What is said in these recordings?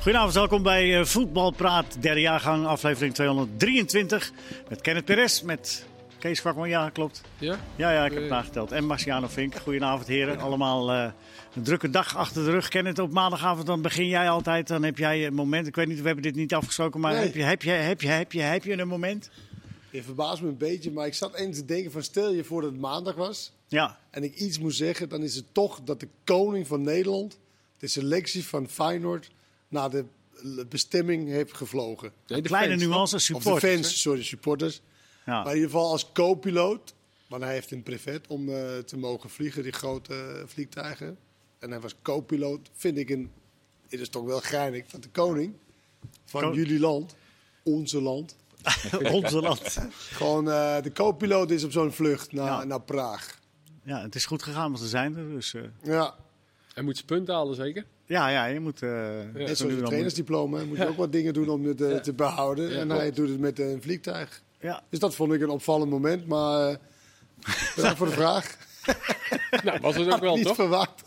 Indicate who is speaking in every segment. Speaker 1: Goedenavond, welkom bij eh, Voetbalpraat, derde jaargang, aflevering 223. Met Kenneth Perez, met Kees Kwakman, ja klopt.
Speaker 2: Ja?
Speaker 1: Ja, ja, ik heb
Speaker 2: Eh.
Speaker 1: het nageteld. En Marciano Vink, goedenavond heren. Allemaal eh, een drukke dag achter de rug. Kenneth, op maandagavond dan begin jij altijd. Dan heb jij een moment, ik weet niet, we hebben dit niet afgesproken, maar
Speaker 3: Nee.
Speaker 1: heb, je, heb, je, heb, je, heb, je, heb je een moment?
Speaker 3: Je verbaast me een beetje, maar ik zat eens te denken van stel je voor dat het maandag was
Speaker 1: Ja,
Speaker 3: en ik iets moest zeggen, dan is het toch dat de koning van Nederland de selectie van Feyenoord naar de l- bestemming heeft gevlogen.
Speaker 2: Nee, de
Speaker 1: kleine
Speaker 2: fans,
Speaker 1: nuance als
Speaker 3: Of de
Speaker 1: support.
Speaker 3: fans, sorry, supporters.
Speaker 1: Ja.
Speaker 3: Maar in ieder geval als co-piloot, want hij heeft een brevet om eh, te mogen vliegen, die grote eh, vliegtuigen. En hij was co-piloot, vind ik een, het is toch wel geinig, van de koning van
Speaker 1: Kon-
Speaker 3: jullie land, onze land.
Speaker 1: Onze land.
Speaker 3: Gewoon, eh, de co-piloot is op zo'n vlucht naar,
Speaker 1: Ja.
Speaker 3: naar Praag.
Speaker 1: Ja, het is goed gegaan, want ze zijn er. Dus, eh,
Speaker 3: Ja,
Speaker 2: toch? Hij moet zijn punten halen, zeker?
Speaker 1: ja, ja, je moet... eh, zo
Speaker 3: net zoals
Speaker 1: nu
Speaker 3: een
Speaker 1: dan-
Speaker 3: trainersdiploma. Moet je ook wat dingen doen om het eh, te behouden. en hij
Speaker 2: klopt.
Speaker 3: doet het met een vliegtuig.
Speaker 1: Ja,
Speaker 3: Dus dat vond ik een opvallend moment. Maar eh, bedankt voor de vraag.
Speaker 2: nou, was het ook wel,
Speaker 3: Niet
Speaker 2: toch?
Speaker 3: verwacht.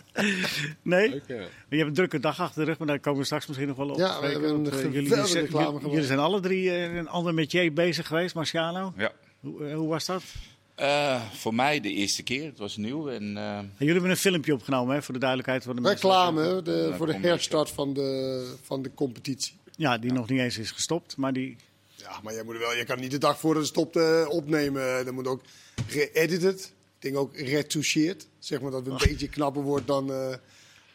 Speaker 1: nee.
Speaker 2: Leuk, ja.
Speaker 1: Je hebt een drukke dag achter de rug, maar daar komen we straks misschien nog wel op.
Speaker 3: Ja,
Speaker 1: te
Speaker 3: we
Speaker 1: spreken,
Speaker 3: hebben een
Speaker 1: want, eh,
Speaker 3: geweldige
Speaker 1: jullie, zijn-
Speaker 3: reclame
Speaker 1: jullie-
Speaker 3: gemaakt.
Speaker 1: jullie zijn alle drie eh, in een ander metier bezig geweest, Marciano.
Speaker 4: Ja.
Speaker 1: Hoe, eh, hoe was dat?
Speaker 4: Eh, voor mij de eerste keer. Het was nieuw. En, eh,
Speaker 1: En jullie hebben een filmpje opgenomen, hè, voor de duidelijkheid van de mensen.
Speaker 3: Reclame hè, de- voor de
Speaker 4: kom maar.
Speaker 3: herstart van de, van de competitie.
Speaker 1: Ja, die nog niet eens is gestopt, maar die...
Speaker 3: Ja, maar jij moet wel, je kan niet de dag voor het stopt eh, opnemen. Dan moet ook geëdited. Ik denk ook retoucheerd. Zeg maar dat het een beetje knapper wordt dan, eh,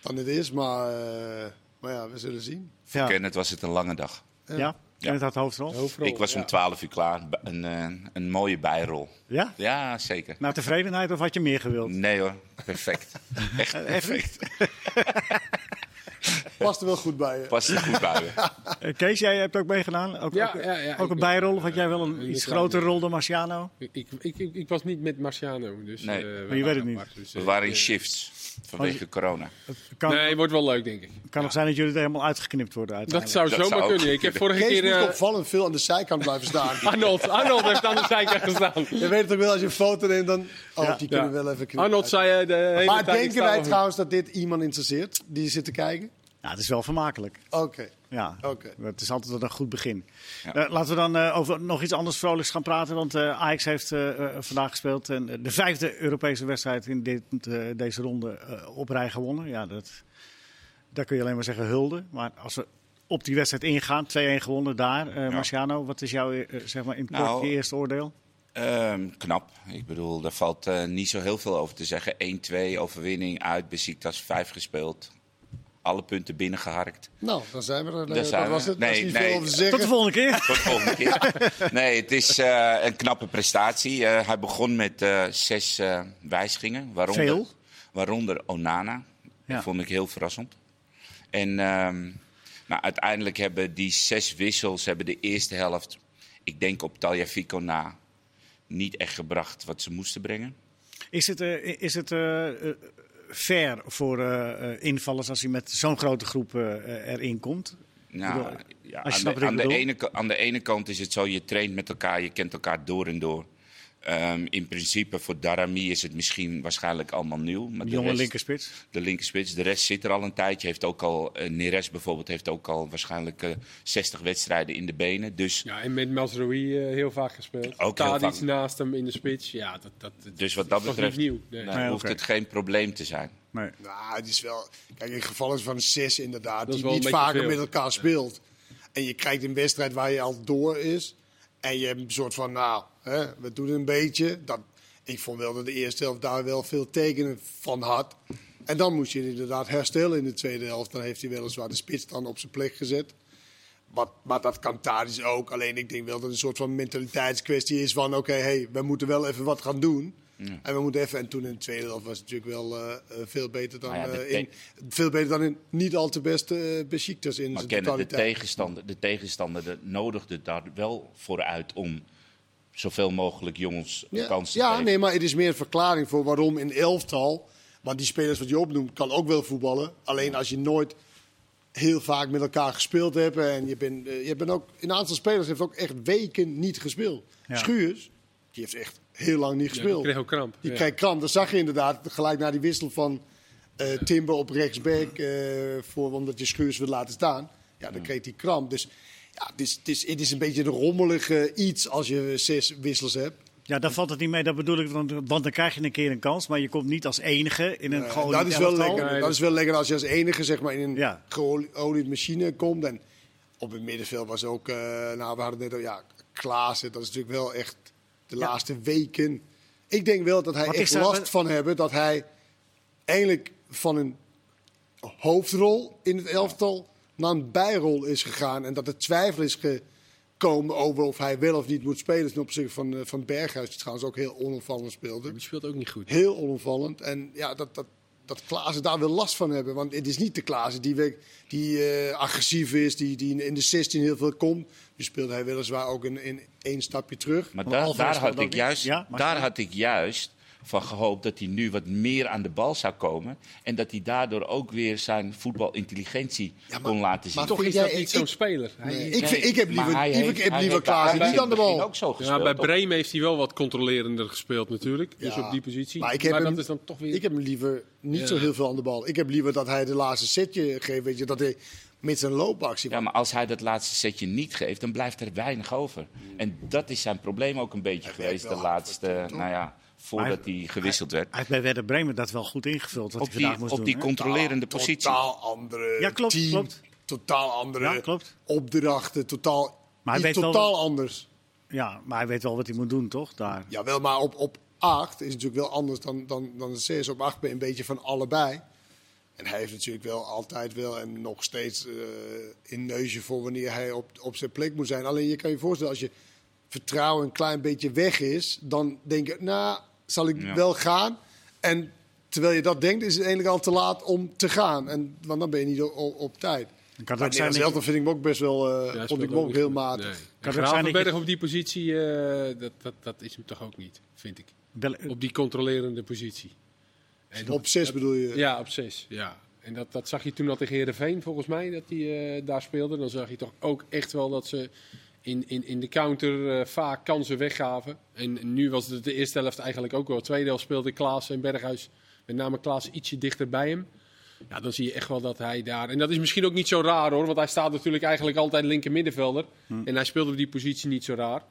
Speaker 3: dan het is. Maar, eh, maar ja, we zullen zien.
Speaker 1: Ja,
Speaker 4: Kenneth was het een lange dag.
Speaker 1: ja. en het had hoofdrol.
Speaker 2: Hoofdrol,
Speaker 4: ik was
Speaker 2: ja.
Speaker 4: om 12 uur klaar. Ba- Een, eh, een mooie bijrol.
Speaker 1: Ja?
Speaker 4: Ja, zeker.
Speaker 1: Naar tevredenheid of had je meer gewild? Eh,
Speaker 4: Nee hoor, perfect. Echt perfect.
Speaker 3: Past er wel goed bij je.
Speaker 4: Past er goed bij me.
Speaker 1: Eh, Kees, jij hebt ook meegedaan? Ook,
Speaker 2: Ja,
Speaker 1: ook,
Speaker 2: ja, ja,
Speaker 1: ook
Speaker 2: ik
Speaker 1: een
Speaker 2: ook.
Speaker 1: bijrol of had jij wel een
Speaker 2: Eh,
Speaker 1: iets
Speaker 2: reclame.
Speaker 1: grotere rol dan Marciano?
Speaker 2: Ik, ik, ik, ik was niet met Marciano, dus...
Speaker 4: Nee.
Speaker 2: eh, we
Speaker 1: Maar je weet
Speaker 2: waren
Speaker 1: het niet.
Speaker 2: apart, dus, eh,
Speaker 4: We waren in
Speaker 2: eh,
Speaker 4: shifts vanwege corona.
Speaker 1: Het kan,
Speaker 2: Nee, wordt wel leuk, denk ik.
Speaker 1: kan nog zijn dat jullie er helemaal uitgeknipt worden
Speaker 2: Dat
Speaker 1: uiteindelijk.
Speaker 2: zou
Speaker 4: Dat
Speaker 2: zomaar
Speaker 4: zou ook
Speaker 2: kunnen. Ik heb
Speaker 4: kunnen.
Speaker 2: vorige
Speaker 3: Kees
Speaker 2: keer...
Speaker 3: moet
Speaker 2: eh,
Speaker 3: opvallend veel aan de zijkant blijven staan.
Speaker 2: Arnold, Arnold heeft aan de zijkant gestaan.
Speaker 3: je weet het ook wel, als je een foto neemt, dan... Oh,
Speaker 1: Ja.
Speaker 3: die
Speaker 2: Ja.
Speaker 3: kunnen we wel even knippen.
Speaker 2: Arnold zei eh, de hele
Speaker 3: maar
Speaker 2: tijd... ik
Speaker 3: denken
Speaker 2: sta
Speaker 3: wij
Speaker 2: nog-
Speaker 3: trouwens dat dit iemand interesseert die zit te kijken?
Speaker 1: Ja, het is wel vermakelijk.
Speaker 3: Oké.
Speaker 1: Ja,
Speaker 3: Oké.
Speaker 1: dat is altijd een goed begin.
Speaker 4: Ja.
Speaker 1: Eh, laten we dan eh, over nog iets anders vrolijks gaan praten. Want eh Ajax heeft eh, eh, vandaag gespeeld. En eh, de vijfde Europese wedstrijd in dit, eh, deze ronde eh, op rij gewonnen. Ja, dat, daar kun je alleen maar zeggen hulde. Maar als we op die wedstrijd ingaan, 2-1 gewonnen daar. Eh, Marciano, wat is jouw eh, zeg maar in het kort
Speaker 4: Nou,
Speaker 1: je eerste oordeel?
Speaker 4: Ehm, knap. Ik bedoel, daar valt eh, niet zo heel veel over te zeggen. 1-2, overwinning uit. Besiktas 5 gespeeld. Alle punten binnengeharkt.
Speaker 3: Nou, dan zijn we er.
Speaker 4: Daar
Speaker 3: dat
Speaker 4: zijn we.
Speaker 3: was het.
Speaker 4: Nee,
Speaker 3: Daar is niet
Speaker 4: nee.
Speaker 3: veel over te
Speaker 1: Tot de
Speaker 3: zeggen.
Speaker 1: volgende keer.
Speaker 4: Tot de volgende keer. Nee, het is eh, een knappe prestatie. Eh, hij begon met eh, zes eh, wijzigingen. Waaronder,
Speaker 1: Veel.
Speaker 4: Waaronder Onana.
Speaker 1: Ja.
Speaker 4: Dat vond ik heel verrassend. En ehm, nou, uiteindelijk hebben die zes wissels hebben de eerste helft, ik denk op Taljafico na, niet echt gebracht wat ze moesten brengen.
Speaker 1: Is het, eh, is het eh, eh, fair voor eh, eh, invallers als hij met zo'n grote groep eh, eh, erin komt?
Speaker 4: Nou,
Speaker 1: Ik bedoel,
Speaker 4: ja,
Speaker 1: als je snapt wat ik
Speaker 4: aan, de, aan, de
Speaker 1: bedoel.
Speaker 4: ene, ka- aan de ene kant is het zo, je traint met elkaar, je kent elkaar door en door. Ehm, in principe voor Darami is het misschien waarschijnlijk allemaal nieuw. Maar
Speaker 1: Die
Speaker 4: de
Speaker 1: jonge
Speaker 4: rest-
Speaker 1: linkerspits.
Speaker 4: De linkerspits. De rest zit er al een tijdje. Heeft ook al, eh, Neres bijvoorbeeld heeft ook al waarschijnlijk eh, 60 wedstrijden in de benen. Dus,
Speaker 2: Ja, en met Masroui eh heel vaak gespeeld.
Speaker 4: Ook heel
Speaker 2: Tadic
Speaker 4: vaak.
Speaker 2: naast hem in de spits. Ja, dat, dat, dat
Speaker 4: dus wat
Speaker 2: was
Speaker 4: dat
Speaker 2: niet
Speaker 4: betreft
Speaker 2: nieuw. Nee.
Speaker 4: nou,
Speaker 1: Nee,
Speaker 4: hoeft
Speaker 1: oké. Dus
Speaker 4: het geen probleem te zijn.
Speaker 1: Nee.
Speaker 3: Nou, het is wel. Kijk, in gevallen van zes inderdaad,
Speaker 2: Dat is
Speaker 3: die
Speaker 2: wel een
Speaker 3: niet
Speaker 2: beetje
Speaker 3: vaker
Speaker 2: veel.
Speaker 3: met elkaar speelt. En je krijgt een wedstrijd waar je al door is. En je hebt een soort van, nou, hè, we doen een beetje. Dat, ik vond wel dat de eerste helft daar wel veel tekenen van had. En dan moest je inderdaad herstellen in de tweede helft. Dan heeft hij weliswaar de spits dan op zijn plek gezet. Maar, maar dat kan Tadis ook. Alleen ik denk wel dat het een soort van mentaliteitskwestie is van... oké, hey, we moeten wel even wat gaan doen. En we moeten even... En toen in de tweede helft was het natuurlijk wel eh, eh, veel, beter dan,
Speaker 4: Maar Nou ja, de
Speaker 3: eh, in, veel beter dan in niet al te beste eh Besiktas in
Speaker 4: Maar
Speaker 3: zijn
Speaker 4: kennen de
Speaker 3: totaliteit.
Speaker 4: tegenstander, de tegenstander de- nodigde daar wel voor uit om zoveel mogelijk jongens een
Speaker 3: Ja,
Speaker 4: kans te
Speaker 3: ja
Speaker 4: geven.
Speaker 3: nee, maar het is meer een verklaring voor waarom in elftal... Want die spelers wat je opnoemt, kan ook wel voetballen. Alleen als je nooit heel vaak met elkaar gespeeld hebt... en je bent, eh, je bent ook... Een aantal spelers heeft ook echt weken niet gespeeld.
Speaker 1: Ja.
Speaker 3: Schuurs, die heeft echt heel lang niet
Speaker 2: Ja,
Speaker 3: gespeeld.
Speaker 2: die kreeg ook kramp.
Speaker 3: Die
Speaker 2: Ja.
Speaker 3: kreeg kramp. Dat zag je inderdaad gelijk na die wissel van eh Timber op rechtsback. eh, voor, omdat je Schuurs wil laten staan. Ja, dan kreeg hij kramp. Dus ja, het is, het, is, het is een beetje een rommelige iets als je zes wissels hebt.
Speaker 1: Ja, daar valt het niet mee, dat bedoel ik. Want, want dan krijg je een keer een kans, maar je komt niet als enige in een
Speaker 3: Eh,
Speaker 1: geolied
Speaker 3: dat, is wel
Speaker 1: elftal.
Speaker 3: lekker,
Speaker 2: Nee,
Speaker 3: dat
Speaker 2: dat-
Speaker 3: is wel lekker als je als enige zeg maar, in een
Speaker 1: Ja.
Speaker 3: geolied machine komt. En op het middenveld was ook, eh, nou, we hadden net al, ja, Klaassen, dat is natuurlijk wel echt de
Speaker 1: Ja.
Speaker 3: laatste weken. Ik denk wel dat hij
Speaker 1: Wat
Speaker 3: echt
Speaker 1: is daar-
Speaker 3: last van hebben dat hij eigenlijk van een hoofdrol in het elftal naar een bijrol is gegaan. En dat er twijfel is gekomen over of hij wel of niet moet spelen ten opzichte van, eh, van Berghuis, die trouwens ook heel onopvallend speelde.
Speaker 2: Die speelt ook niet goed.
Speaker 3: Heel onopvallend. En ja, dat, dat, dat Klaassen daar wel last van hebben. Want het is niet de Klaassen die, we- die eh, agressief is, die, die in de 16 heel veel komt. Nu speelde hij weliswaar ook in, in één stapje terug.
Speaker 4: Maar
Speaker 1: Want
Speaker 4: daar-
Speaker 1: Alvarez
Speaker 4: daar,
Speaker 1: speelt
Speaker 4: had
Speaker 1: ook
Speaker 4: ik
Speaker 1: niet.
Speaker 4: juist,
Speaker 1: Ja, maar-
Speaker 4: daar had ik juist van gehoopt dat hij nu wat meer aan de bal zou komen. En dat hij daardoor ook weer zijn voetbalintelligentie
Speaker 3: Ja, maar-
Speaker 4: kon laten zien.
Speaker 3: maar
Speaker 2: Toch is
Speaker 3: Jij-
Speaker 2: dat niet zo'n
Speaker 3: ik-
Speaker 2: speler. Hij-
Speaker 3: ik, vind- ik heb
Speaker 4: maar
Speaker 3: liever,
Speaker 4: hij
Speaker 3: ik
Speaker 4: heeft-
Speaker 3: heb
Speaker 4: hij
Speaker 3: liever
Speaker 4: heeft
Speaker 3: Klaassen
Speaker 4: bij
Speaker 3: niet aan de
Speaker 4: Ajax
Speaker 3: bal.
Speaker 4: ook zo gespeeld.
Speaker 2: Ja, bij
Speaker 4: toch?
Speaker 2: Bremen heeft hij wel wat controlerender gespeeld natuurlijk. Dus
Speaker 3: Ja.
Speaker 2: op die positie.
Speaker 3: Maar, ik heb
Speaker 2: maar
Speaker 3: hem,
Speaker 2: dat is dan toch weer...
Speaker 3: ik heb hem liever niet
Speaker 2: Ja.
Speaker 3: zo heel veel aan de bal. Ik heb liever dat hij de laatste setje geeft. Weet je, dat hij met zijn loopactie.
Speaker 4: Ja, maar als hij dat laatste setje niet geeft, dan blijft er weinig over. En dat is zijn probleem ook een beetje
Speaker 3: Hij werkt
Speaker 4: geweest de
Speaker 3: wel hard voor het
Speaker 4: laatste, nou ja, voordat hij gewisseld werd.
Speaker 1: Hij heeft bij Werder Bremen dat wel goed ingevuld, wat
Speaker 4: Op
Speaker 1: hij vandaag
Speaker 4: die,
Speaker 1: moest
Speaker 4: op
Speaker 1: doen.
Speaker 4: die
Speaker 1: hè?
Speaker 4: controlerende positie.
Speaker 3: Totaal andere
Speaker 1: Ja, klopt,
Speaker 3: team.
Speaker 1: klopt.
Speaker 3: Totaal andere
Speaker 1: Ja, klopt.
Speaker 3: opdrachten. Totaal,
Speaker 1: Maar hij
Speaker 3: iets
Speaker 1: weet wel
Speaker 3: totaal anders.
Speaker 1: Ja, maar hij weet wel wat hij moet doen, toch? Daar.
Speaker 3: Jawel, maar op, op 8 is natuurlijk wel anders dan, dan, dan de CS. Op 8 ben je een beetje van allebei. En hij heeft natuurlijk wel altijd wel en nog steeds eh een neusje voor wanneer hij op, op zijn plek moet zijn. Alleen je kan je voorstellen, als je vertrouwen een klein beetje weg is, dan denk je, nou, zal ik
Speaker 4: Ja.
Speaker 3: wel gaan? En terwijl je dat denkt, is het eigenlijk al te laat om te gaan. En, want dan ben je niet o- o- op tijd.
Speaker 1: Dan kan
Speaker 3: Maar
Speaker 1: het ook zijn
Speaker 3: Nederlands
Speaker 1: dat je-
Speaker 3: Elftal vind ik hem ook best wel,
Speaker 2: Ja,
Speaker 3: eh
Speaker 2: hij
Speaker 3: vond
Speaker 2: speelt
Speaker 3: ik hem
Speaker 2: ook
Speaker 3: ook
Speaker 2: niet
Speaker 3: heel
Speaker 2: goed.
Speaker 3: matig.
Speaker 2: Nee.
Speaker 1: zijn
Speaker 2: En
Speaker 1: dat je-
Speaker 2: Gravenberg op die positie, eh, dat, dat, dat is hem toch ook niet, vind ik.
Speaker 1: Wel-
Speaker 2: Op die controlerende positie. En
Speaker 3: Op 6 bedoel je?
Speaker 2: Ja, op zes. Ja. En dat, dat zag je toen al tegen Heerenveen, volgens mij, dat die eh, daar speelde. Dan zag je toch ook echt wel dat ze in, in, in de counter eh, vaak kansen weggaven. En nu was het de eerste helft eigenlijk ook wel. Tweede helft speelde Klaas en Berghuis, met name Klaas, ietsje dichter bij hem. Ja, dan zie je echt wel dat hij daar... En dat is misschien ook niet zo raar hoor, want hij staat natuurlijk eigenlijk altijd linker middenvelder.
Speaker 4: Hm.
Speaker 2: En hij speelde op die positie niet zo raar.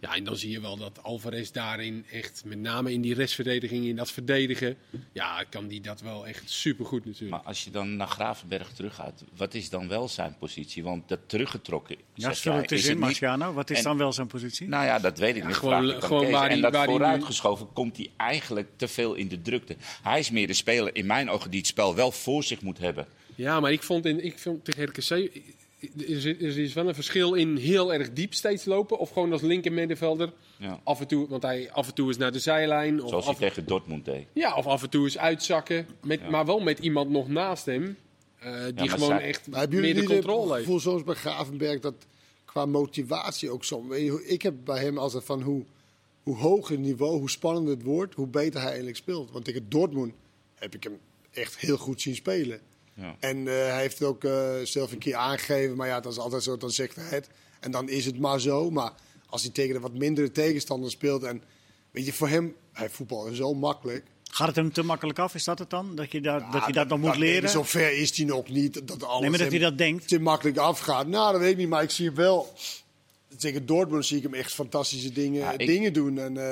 Speaker 2: Ja, en dan zie je wel dat Alvarez daarin echt, met name in die restverdediging, in dat verdedigen, ja, kan die dat wel echt supergoed natuurlijk.
Speaker 4: Maar als je dan naar Gravenberg teruggaat, wat is dan wel zijn positie? Want dat teruggetrokken.
Speaker 1: Ja,
Speaker 4: zeg
Speaker 1: stel
Speaker 4: jij,
Speaker 1: het eens
Speaker 4: is
Speaker 1: in,
Speaker 4: het niet-
Speaker 1: Marciano. Wat is
Speaker 4: En-
Speaker 1: dan wel zijn positie?
Speaker 4: Nou ja, dat weet ik niet.
Speaker 2: gewoon-
Speaker 4: Vraag ik aan
Speaker 2: gewoon
Speaker 4: Kees.
Speaker 2: waar
Speaker 4: en
Speaker 2: die-
Speaker 4: dat
Speaker 2: waar die nu-
Speaker 4: vooruitgeschoven komt hij eigenlijk te veel in de drukte. Hij is meer de speler in mijn ogen die het spel wel voor zich moet hebben.
Speaker 2: Ja, maar ik vond, in, ik vond tegen RKC, er is, er is wel een verschil in heel erg diep steeds lopen, of gewoon als linker middenvelder.
Speaker 4: Ja.
Speaker 2: Af en toe, want hij af en toe is naar de zijlijn. Of
Speaker 4: Zoals hij
Speaker 2: af,
Speaker 4: tegen Dortmund deed.
Speaker 2: ja, of af en toe is uitzakken, met, maar wel met iemand nog naast hem, eh, die
Speaker 4: maar
Speaker 2: gewoon
Speaker 4: zij-
Speaker 2: echt
Speaker 3: Maar hebben
Speaker 2: meer
Speaker 3: jullie
Speaker 2: de
Speaker 3: niet het
Speaker 2: controle heeft.
Speaker 3: gevoel zoals bij Gravenberg dat qua motivatie ook zo? Weet je, hoe- Ik heb bij hem altijd van hoe, hoe hoger het niveau, hoe spannender het wordt, hoe beter hij eigenlijk speelt. Want tegen Dortmund heb ik hem echt heel goed zien spelen.
Speaker 4: Ja.
Speaker 3: En eh, hij heeft het ook eh, zelf een keer aangegeven, maar ja, dat is altijd zo, dan zegt hij het. En dan is het maar zo. Maar als hij tegen een wat mindere tegenstander speelt en weet je, voor hem, hij voetbal is zo makkelijk.
Speaker 1: Gaat het hem te makkelijk af? Is dat het dan? Dat je, daar,
Speaker 4: Nou,
Speaker 1: dat
Speaker 3: Ja,
Speaker 1: je dat nog moet leren?
Speaker 3: Zover is hij nog niet. Dat alles
Speaker 1: Nee, maar dat
Speaker 3: hem
Speaker 1: hij dat denkt.
Speaker 3: te makkelijk afgaat. Nou, dat weet ik niet, maar ik zie hem wel. Tegen Dortmund zie ik hem echt fantastische dingen,
Speaker 4: Ja, ik-
Speaker 3: dingen doen. En eh,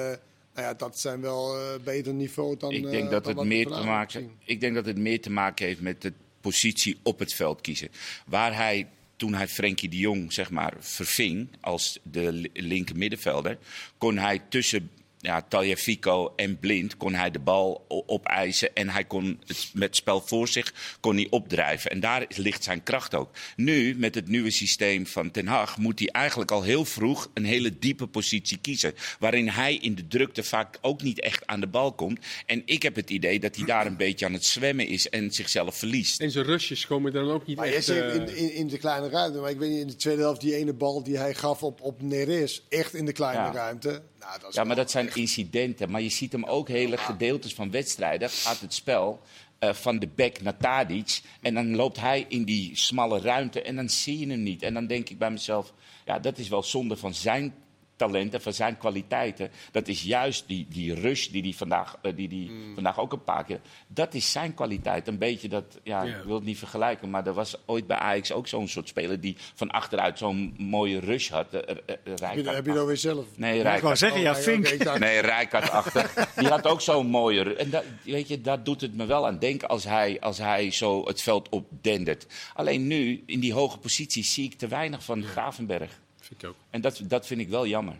Speaker 3: nou ja, dat zijn wel eh, beter niveau dan.
Speaker 4: ik
Speaker 3: eh,
Speaker 4: denk
Speaker 3: dan
Speaker 4: dat het
Speaker 3: wat we
Speaker 4: meer te
Speaker 3: vanavond
Speaker 4: maken,
Speaker 3: zien.
Speaker 4: ik denk dat het meer te maken heeft met de positie op het veld kiezen. Waar hij toen hij Frenkie de Jong zeg maar verving als de li- linker middenvelder, kon hij tussen ja, Tagliafico en Blind kon hij de bal o- opeisen en hij kon het met het spel voor zich kon hij opdrijven. En daar ligt zijn kracht ook. Nu, met het nieuwe systeem van Ten Hag, moet hij eigenlijk al heel vroeg een hele diepe positie kiezen. Waarin hij in de drukte vaak ook niet echt aan de bal komt. En ik heb het idee dat hij daar een beetje aan het zwemmen is en zichzelf verliest.
Speaker 2: En zijn rushes komen dan ook niet
Speaker 3: Maar jij
Speaker 2: echt...
Speaker 3: zegt
Speaker 2: eh,
Speaker 3: in, in, in de kleine ruimte. Maar ik weet niet, in de tweede helft die ene bal die hij gaf op, op Neres. Echt in de kleine
Speaker 4: Ja.
Speaker 3: ruimte. Nou, dat is
Speaker 4: Ja, maar
Speaker 3: wel
Speaker 4: dat zijn
Speaker 3: echt-
Speaker 4: incidenten. Maar je ziet hem ook hele gedeeltes van wedstrijden. Gaat het spel eh, van de bek naar Tadic. En dan loopt hij in die smalle ruimte. En dan zie je hem niet. En dan denk ik bij mezelf: ja, dat is wel zonde van zijn talent en van zijn kwaliteiten. Dat is juist die, die rush die hij vandaag, eh, die die
Speaker 3: Mm.
Speaker 4: vandaag ook een paar keer. Dat is zijn kwaliteit. Een beetje dat, ja,
Speaker 2: Ja.
Speaker 4: ik wil het niet vergelijken, maar er was ooit bij Ajax ook zo'n soort speler die van achteruit zo'n mooie rush had. eh, eh, eh,
Speaker 3: Heb je,
Speaker 4: Rijkaard.
Speaker 3: heb je dat weer zelf?
Speaker 4: Nee,
Speaker 1: Ik wou
Speaker 4: Rijkaard.
Speaker 1: zeggen, ja,
Speaker 3: Oh, nee,
Speaker 1: Fink.
Speaker 3: oké, ik dacht-
Speaker 4: Nee, Rijkaard achter. Die had ook zo'n mooie... ru- En dat, weet je, daar doet het me wel aan denken als hij, als hij zo het veld op dendert. Alleen nu, in die hoge positie, zie ik te weinig van Gravenberg.
Speaker 2: Vind ik ook.
Speaker 4: En dat, dat vind ik wel jammer.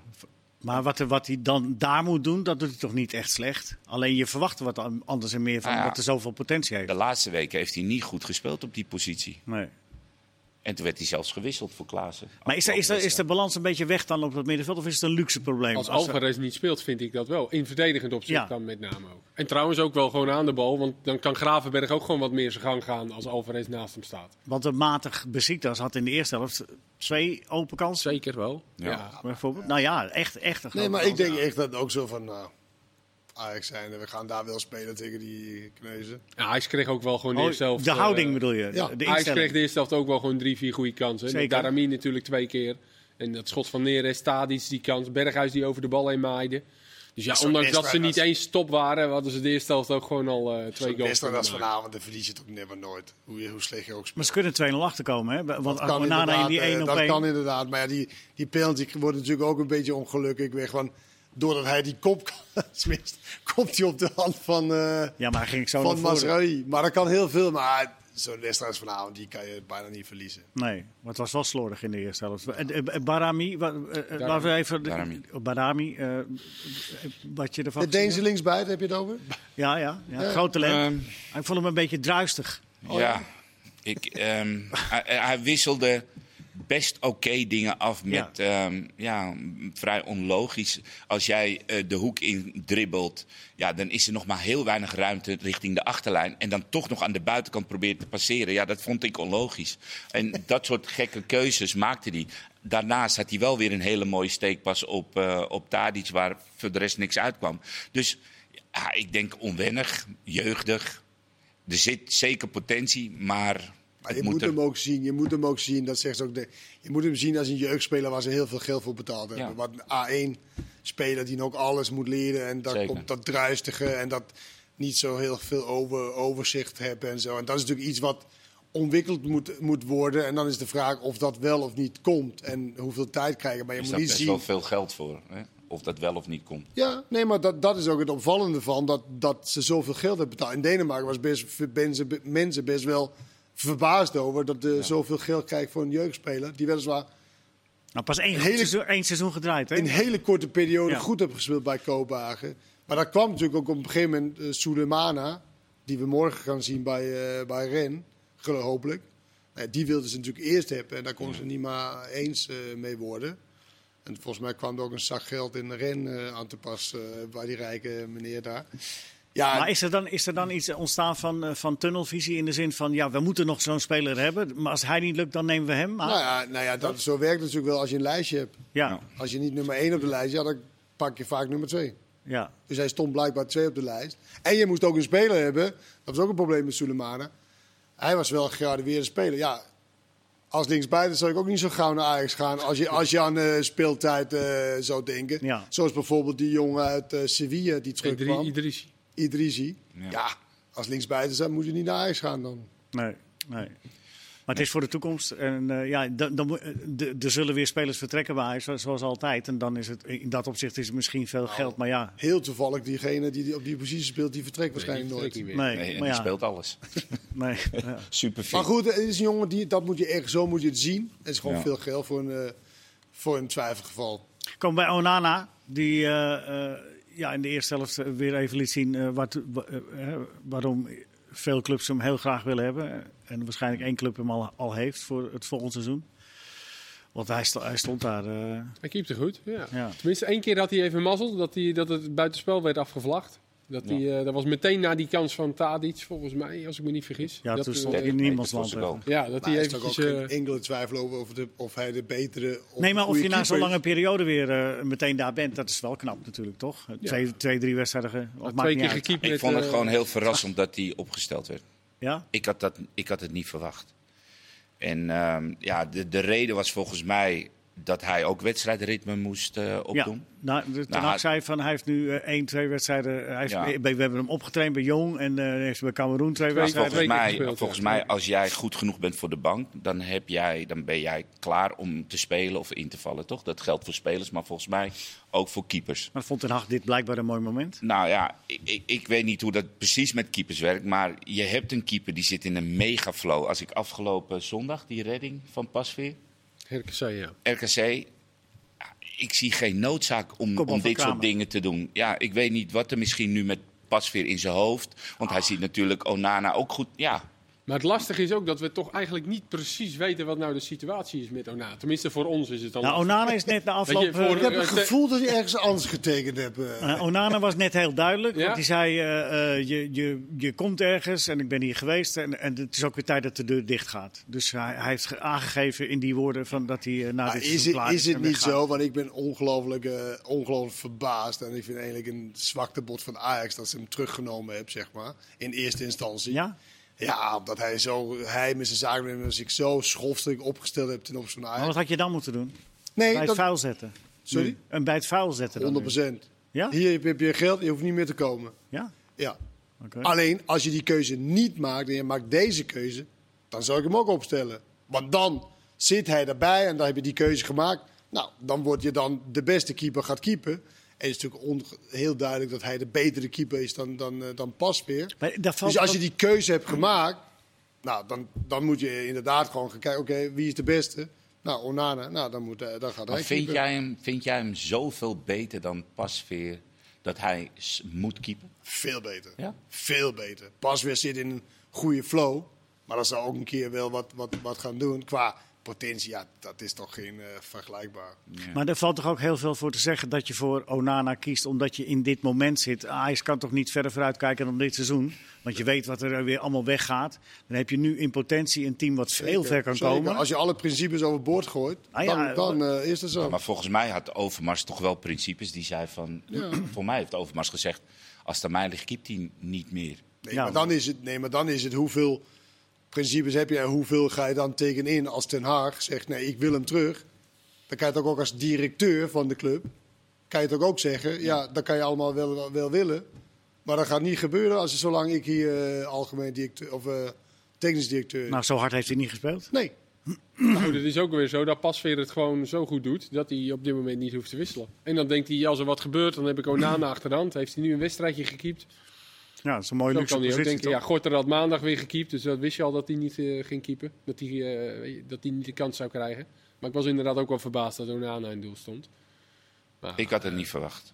Speaker 1: Maar wat, er- wat hij dan daar moet doen, dat doet hij toch niet echt slecht? Alleen je verwacht wat an- anders en meer van,
Speaker 4: Ah, ja.
Speaker 1: omdat er zoveel potentie heeft.
Speaker 4: De laatste weken heeft hij niet goed gespeeld op die positie.
Speaker 1: Nee.
Speaker 4: En toen werd hij zelfs gewisseld voor Klaassen.
Speaker 1: Maar is, er- is, er- is de balans een beetje weg dan op het middenveld of is het een luxe probleem?
Speaker 2: Als
Speaker 1: er-
Speaker 2: Alvarez niet speelt, vind ik dat wel. In verdedigend opzicht
Speaker 1: Ja.
Speaker 2: dan met name ook. En trouwens ook wel gewoon aan de bal. Want dan kan Gravenberg ook gewoon wat meer zijn gang gaan als Alvarez naast hem staat.
Speaker 1: Want de matig Besiktas had in de eerste helft twee open kansen.
Speaker 2: Zeker wel.
Speaker 4: Ja.
Speaker 2: Ja.
Speaker 1: Bijvoorbeeld. Nou ja, echt, echt een
Speaker 3: Nee,
Speaker 1: grote
Speaker 3: maar ik
Speaker 1: kans.
Speaker 3: denk echt dat het ook zo van. Nou, Ajax zijn, we gaan daar wel spelen tegen die kneuzen.
Speaker 2: Ja, hij kreeg ook wel gewoon de
Speaker 1: Oh,
Speaker 2: eerste helft,
Speaker 1: de
Speaker 2: eh,
Speaker 1: houding bedoel je?
Speaker 3: ja.
Speaker 1: De
Speaker 2: Ajax
Speaker 1: instelling.
Speaker 2: kreeg de eerste helft ook wel gewoon drie, vier goede kansen. Met
Speaker 1: Zeker.
Speaker 2: Darami natuurlijk twee keer. En dat schot van Neres, Tadic die kans. Berghuis die over de bal heen maaide. Dus ja,
Speaker 3: Zo'n
Speaker 2: ondanks dat ze
Speaker 3: wedstrijd
Speaker 2: niet
Speaker 3: als-
Speaker 2: eens top waren, hadden ze de eerste helft ook gewoon al eh, twee
Speaker 3: Zo'n
Speaker 2: goals
Speaker 3: wedstrijd als
Speaker 2: kunnen maken.
Speaker 3: vanavond, nou, dan verlies je toch nimmer nooit. Hoe, je- hoe slecht je ook
Speaker 1: Maar
Speaker 3: speelt.
Speaker 1: ze kunnen 2-0 achterkomen, hè? Want
Speaker 3: Dat kan
Speaker 1: Onana in die
Speaker 3: inderdaad,
Speaker 1: 1 op
Speaker 3: eh, Dat
Speaker 1: 1.
Speaker 3: kan inderdaad. Maar ja, die, die penalty wordt natuurlijk ook een beetje ongelukkig. Weer gewoon, doordat hij die kop smist, komt hij op de hand van, eh
Speaker 1: Ja, maar hij ging zo
Speaker 3: van
Speaker 1: naar voren.
Speaker 3: Masraoui. Maar dat kan heel veel. Maar zo'n wedstrijd als vanavond, die kan je bijna niet verliezen.
Speaker 1: Nee, maar het was wel slordig in de eerste helft. Eh, eh, eh, Barami, wa- eh, eh, laten we even...
Speaker 4: Darami.
Speaker 1: Barami, eh, wat je ervan...
Speaker 3: De Deense linksbuiten, heb je het over?
Speaker 1: Ja, ja, ja. groot talent.
Speaker 2: Ehm.
Speaker 1: Ik vond hem een beetje druistig.
Speaker 4: ja, ik, ehm, hij, hij wisselde best oké dingen af met ehm, ja, m, vrij onlogisch. Als jij eh, de hoek in dribbelt, ja, dan is er nog maar heel weinig ruimte richting de achterlijn. En dan toch nog aan de buitenkant probeert te passeren. Ja, dat vond ik onlogisch. En dat soort gekke keuzes maakte hij. Daarnaast had hij wel weer een hele mooie steekpas op, eh op Tadic, waar voor de rest niks uitkwam. Dus ja, ik denk onwennig, jeugdig. Er zit zeker potentie, maar,
Speaker 3: Maar
Speaker 4: het
Speaker 3: je moet
Speaker 4: er-
Speaker 3: hem ook zien. Je moet hem ook zien. Dat zegt ze ook de, je moet hem zien als een jeugdspeler waar ze heel veel geld voor betaald hebben.
Speaker 4: Ja.
Speaker 3: Wat een A1-speler die nog alles moet leren. En daar
Speaker 4: Zeker.
Speaker 3: komt dat druistige en dat niet zo heel veel over, overzicht hebben en zo. En dat is natuurlijk iets wat ontwikkeld moet, moet worden. En dan is de vraag of dat wel of niet komt. En hoeveel tijd krijgen. Maar je
Speaker 4: is
Speaker 3: moet
Speaker 4: daar
Speaker 3: niet
Speaker 4: best wel
Speaker 3: zien.
Speaker 4: veel geld voor. Hè? Of dat wel of niet komt.
Speaker 3: Ja, nee, maar dat, dat is ook het opvallende van dat, dat ze zoveel geld hebben betaald. In Denemarken was best, mensen, mensen best wel verbaasd over dat ze zoveel geld krijgt voor een jeugdspeler. Die weliswaar
Speaker 1: Nou, pas één, goed
Speaker 3: Hele-
Speaker 1: seizoen, één seizoen gedraaid, hè?
Speaker 3: in een hele korte periode
Speaker 1: Ja.
Speaker 3: goed heeft gespeeld bij Kopenhagen. Maar dat kwam natuurlijk ook op een gegeven moment eh Sulemana, die we morgen gaan zien bij, eh, bij Ren, gelo- hopelijk. Nou, die wilden ze natuurlijk eerst hebben en daar konden ze niet maar eens eh, mee worden. En volgens mij kwam er ook een zak geld in Ren eh, aan te pas eh, bij die rijke meneer daar. Ja,
Speaker 1: Maar is er, dan, is er dan iets ontstaan van, eh, van tunnelvisie in de zin van... ja, we moeten nog zo'n speler hebben, maar als hij niet lukt, dan nemen we hem. Maar,
Speaker 3: nou ja, nou ja dat, zo werkt het natuurlijk wel als je een lijstje hebt.
Speaker 1: ja,
Speaker 3: Als je niet nummer 1 op de lijst, ja, dan pak je vaak nummer 2.
Speaker 1: ja.
Speaker 3: Dus hij stond blijkbaar twee op de lijst. En je moest ook een speler hebben. Dat was ook een probleem met Soleimana. Hij was wel een gegradueerde speler. Ja, als linksbuiten zou ik ook niet zo gauw naar Ajax gaan. Als je, als je aan eh, speeltijd eh, zou denken.
Speaker 1: Ja.
Speaker 3: Zoals bijvoorbeeld die jongen uit eh, Sevilla die
Speaker 2: Idri-
Speaker 3: terugkwam.
Speaker 2: Idrissi.
Speaker 3: Idrisi. Ja. als linksbuiten zou, moet je niet naar Ajax gaan dan.
Speaker 1: Nee, nee. Maar het is voor de toekomst. En eh, ja, dan, dan, moet- eh, de- er zullen weer spelers vertrekken bij Ajax, zoals altijd. En dan is het, in dat opzicht is het misschien veel geld, maar ja.
Speaker 3: Heel toevallig, diegene die, die op die positie speelt, die vertrekt waarschijnlijk
Speaker 2: Nee, die
Speaker 3: nooit.
Speaker 2: vertrekt niet meer.
Speaker 1: Nee,
Speaker 4: Nee, en
Speaker 1: maar ja.
Speaker 4: die speelt alles.
Speaker 1: Nee, ja.
Speaker 4: Super fit.
Speaker 3: Maar goed, het is een jongen die, dat moet je echt, zo moet je het zien. Het is gewoon
Speaker 4: Ja.
Speaker 3: veel geld voor een, eh, voor een twijfelgeval.
Speaker 1: Kom bij Onana, die eh, eh, ja, in de eerste helft eh, weer even liet zien eh, wat, wa- eh, eh, waarom veel clubs hem heel graag willen hebben. En waarschijnlijk één club hem al, al heeft voor het volgende seizoen. Want hij, sto- hij stond daar. eh,
Speaker 2: Hij keepte goed, ja.
Speaker 1: Ja.
Speaker 2: Tenminste, één keer had hij even mazzel dat, hij, dat het buitenspel werd afgevlacht. Dat,
Speaker 4: Ja.
Speaker 2: hij, eh, dat was meteen na die kans van Tadic, volgens mij, als ik me niet vergis.
Speaker 1: ja,
Speaker 2: dat,
Speaker 1: toen
Speaker 2: eh,
Speaker 1: stond hij in
Speaker 4: 30
Speaker 1: niemands land.
Speaker 4: meter voor
Speaker 1: even.
Speaker 4: zijn
Speaker 2: ja, dat
Speaker 3: Maar
Speaker 2: hij
Speaker 3: hij is toch ook
Speaker 2: eventjes... eh,
Speaker 3: geen enkele twijfel over of, de, of hij de betere. Of
Speaker 1: Nee, maar
Speaker 3: de
Speaker 1: of
Speaker 3: goede
Speaker 1: je nou na zo'n
Speaker 3: keeper
Speaker 1: lange
Speaker 3: is.
Speaker 1: periode weer eh, meteen daar bent, dat is wel knap natuurlijk, toch? Twee, twee drie wedstrijden. ge- of maakt
Speaker 2: twee
Speaker 1: niet
Speaker 2: keer
Speaker 1: uit.
Speaker 2: gekiept
Speaker 4: Ik
Speaker 2: met,
Speaker 4: vond het
Speaker 2: eh,
Speaker 4: gewoon heel verrassend dat hij opgesteld werd.
Speaker 1: Ja?
Speaker 4: Ik had, dat, ik had het niet verwacht. En ehm, ja, de, de reden was volgens mij dat hij ook wedstrijdritme moest eh, opdoen.
Speaker 1: nou, de- Ten
Speaker 4: Nou,
Speaker 1: Hag
Speaker 4: hij-
Speaker 1: zei van hij heeft nu eh, één, twee wedstrijden. Hij heeft,
Speaker 4: Ja.
Speaker 1: bij- We hebben hem opgetraind bij Jong en eh, hij heeft bij Cameroen twee
Speaker 2: Twee-
Speaker 1: wedstrijden.
Speaker 4: Volgens,
Speaker 2: twee keer
Speaker 4: mij,
Speaker 2: gespeeld,
Speaker 4: volgens
Speaker 2: ja.
Speaker 4: mij, als jij goed genoeg bent voor de bank, dan, heb jij, dan ben jij klaar om te spelen of in te vallen, toch? Dat geldt voor spelers, maar volgens mij ook voor keepers.
Speaker 1: Maar vond Ten Hag dit blijkbaar een mooi moment?
Speaker 4: Nou ja, ik, ik, ik weet niet hoe dat precies met keepers werkt. Maar je hebt een keeper die zit in een mega flow. Als ik afgelopen zondag die redding van Pasveer,
Speaker 2: RKC, ja.
Speaker 4: RKC. ja, Ik zie geen noodzaak om,
Speaker 1: Kom op,
Speaker 4: om dit
Speaker 1: Kramer.
Speaker 4: soort dingen te doen. Ja, ik weet niet wat er misschien nu met Pasveer in zijn hoofd. Want hij
Speaker 1: Ah.
Speaker 4: ziet natuurlijk Onana ook goed. Ja,
Speaker 2: Maar het lastige is ook dat we toch eigenlijk niet precies weten wat nou de situatie is met Ona. Tenminste, voor ons is het dan.
Speaker 1: Nou, Onana is net na afloop.
Speaker 2: Weet je, voor-
Speaker 1: eh,
Speaker 3: Ik heb
Speaker 2: Eh,
Speaker 3: het
Speaker 2: te-
Speaker 3: gevoel dat je ergens anders getekend hebt. eh.
Speaker 1: Eh, Onana was net heel duidelijk.
Speaker 2: Ja?
Speaker 1: Want die zei: eh, eh, je, je, je komt ergens en ik ben hier geweest. En, en het is ook weer tijd dat de deur dicht gaat. Dus hij, hij heeft ge- aangegeven in die woorden van dat hij eh, na
Speaker 3: Maar
Speaker 1: dit
Speaker 3: is,
Speaker 1: seizoen
Speaker 3: het,
Speaker 1: klaar
Speaker 3: is het
Speaker 1: en
Speaker 3: niet
Speaker 1: weggaat.
Speaker 3: zo? Want ik ben ongelooflijk, eh, ongelooflijk verbaasd. En ik vind eigenlijk een zwakte bot van Ajax dat ze hem teruggenomen hebben, zeg maar. In eerste instantie.
Speaker 1: Ja?
Speaker 3: Ja, omdat hij, zo, hij met zijn zakennemer zich zo schofstelijk opgesteld heeft ten opzichte van
Speaker 1: Maar wat
Speaker 3: Ajax.
Speaker 1: had je dan moeten doen?
Speaker 3: Nee,
Speaker 1: Bij het
Speaker 3: dat-
Speaker 1: vuil zetten.
Speaker 3: Sorry?
Speaker 1: Nu. En bij het vuil zetten. Dan
Speaker 3: 100
Speaker 1: nu. Ja?
Speaker 3: Hier heb je- heb je geld, je hoeft niet meer te komen.
Speaker 1: Ja?
Speaker 3: Ja.
Speaker 1: Oké.
Speaker 3: Alleen, als je die keuze niet maakt en je maakt deze keuze, dan zou ik hem ook opstellen. Want dan zit hij erbij en dan heb je die keuze gemaakt. Nou, dan word je dan de beste keeper gaat keeper. En het is natuurlijk onge- heel duidelijk dat hij de betere keeper is dan, dan, eh, dan Pasveer.
Speaker 1: Maar daar valt
Speaker 3: Dus als je
Speaker 1: ook-
Speaker 3: die keuze hebt gemaakt, nou, dan, dan moet je inderdaad gewoon gaan kijken, oké, wie is de beste? Nou, Onana, nou, dan, moet, eh, dan gaat
Speaker 4: Maar
Speaker 3: hij
Speaker 4: vind
Speaker 3: keeper.
Speaker 4: jij, hem, vind jij hem zoveel beter dan Pasveer dat hij s- moet keepen?
Speaker 3: Veel beter.
Speaker 4: Ja?
Speaker 3: Veel beter. Pas weer zit in een goede flow. Maar dat zou ook een keer wel wat, wat, wat gaan doen. Qua potentie, ja, dat is toch geen eh, vergelijkbaar.
Speaker 1: Maar er valt toch ook heel veel voor te zeggen dat je voor Onana kiest omdat je in dit moment zit. Ajax kan toch niet verder vooruitkijken dan dit seizoen? Want je weet wat er weer allemaal weggaat. Dan heb je nu in potentie een team wat heel ver kan
Speaker 3: Zeker.
Speaker 1: komen.
Speaker 3: Als je alle principes overboord gooit,
Speaker 1: Ah, ja,
Speaker 3: dan, dan eh, is dat zo.
Speaker 4: Maar volgens mij had Overmars toch wel principes die zei van... Voor mij heeft Overmars gezegd, als het aan mij ligt, keept hij niet meer.
Speaker 3: Nee,
Speaker 1: Ja.
Speaker 3: maar dan is het, nee, maar dan is het hoeveel principes heb je en hoeveel ga je dan tegenin als Ten Haag zegt, nee, ik wil hem terug. Dan kan je het ook, ook als directeur van de club, kan je het ook, ook zeggen, ja, dat kan je allemaal wel, wel, wel willen. Maar dat gaat niet gebeuren als, zolang ik hier eh, algemeen directeur of eh, technisch directeur
Speaker 1: Nou, zo hard heeft hij niet gespeeld.
Speaker 3: Nee,
Speaker 2: Nou, dat is ook weer zo dat Pasveer het gewoon zo goed doet dat hij op dit moment niet hoeft te wisselen. En dan denkt hij, als er wat gebeurt, dan heb ik Onana achter de hand. Heeft hij nu een wedstrijdje gekiept?
Speaker 1: Ja, Nou, dat is een mooie
Speaker 2: Dan
Speaker 1: luxe
Speaker 2: kan hij ook
Speaker 1: positie.
Speaker 2: denken, ja,
Speaker 1: toch?
Speaker 2: Gorter had maandag weer gekiept, dus dat wist je al dat hij niet eh, ging keepen. Dat hij, eh, weet je, dat hij niet de kans zou krijgen. Maar ik was inderdaad ook wel verbaasd dat Onana in doel stond. Maar,
Speaker 4: Ik had het niet verwacht.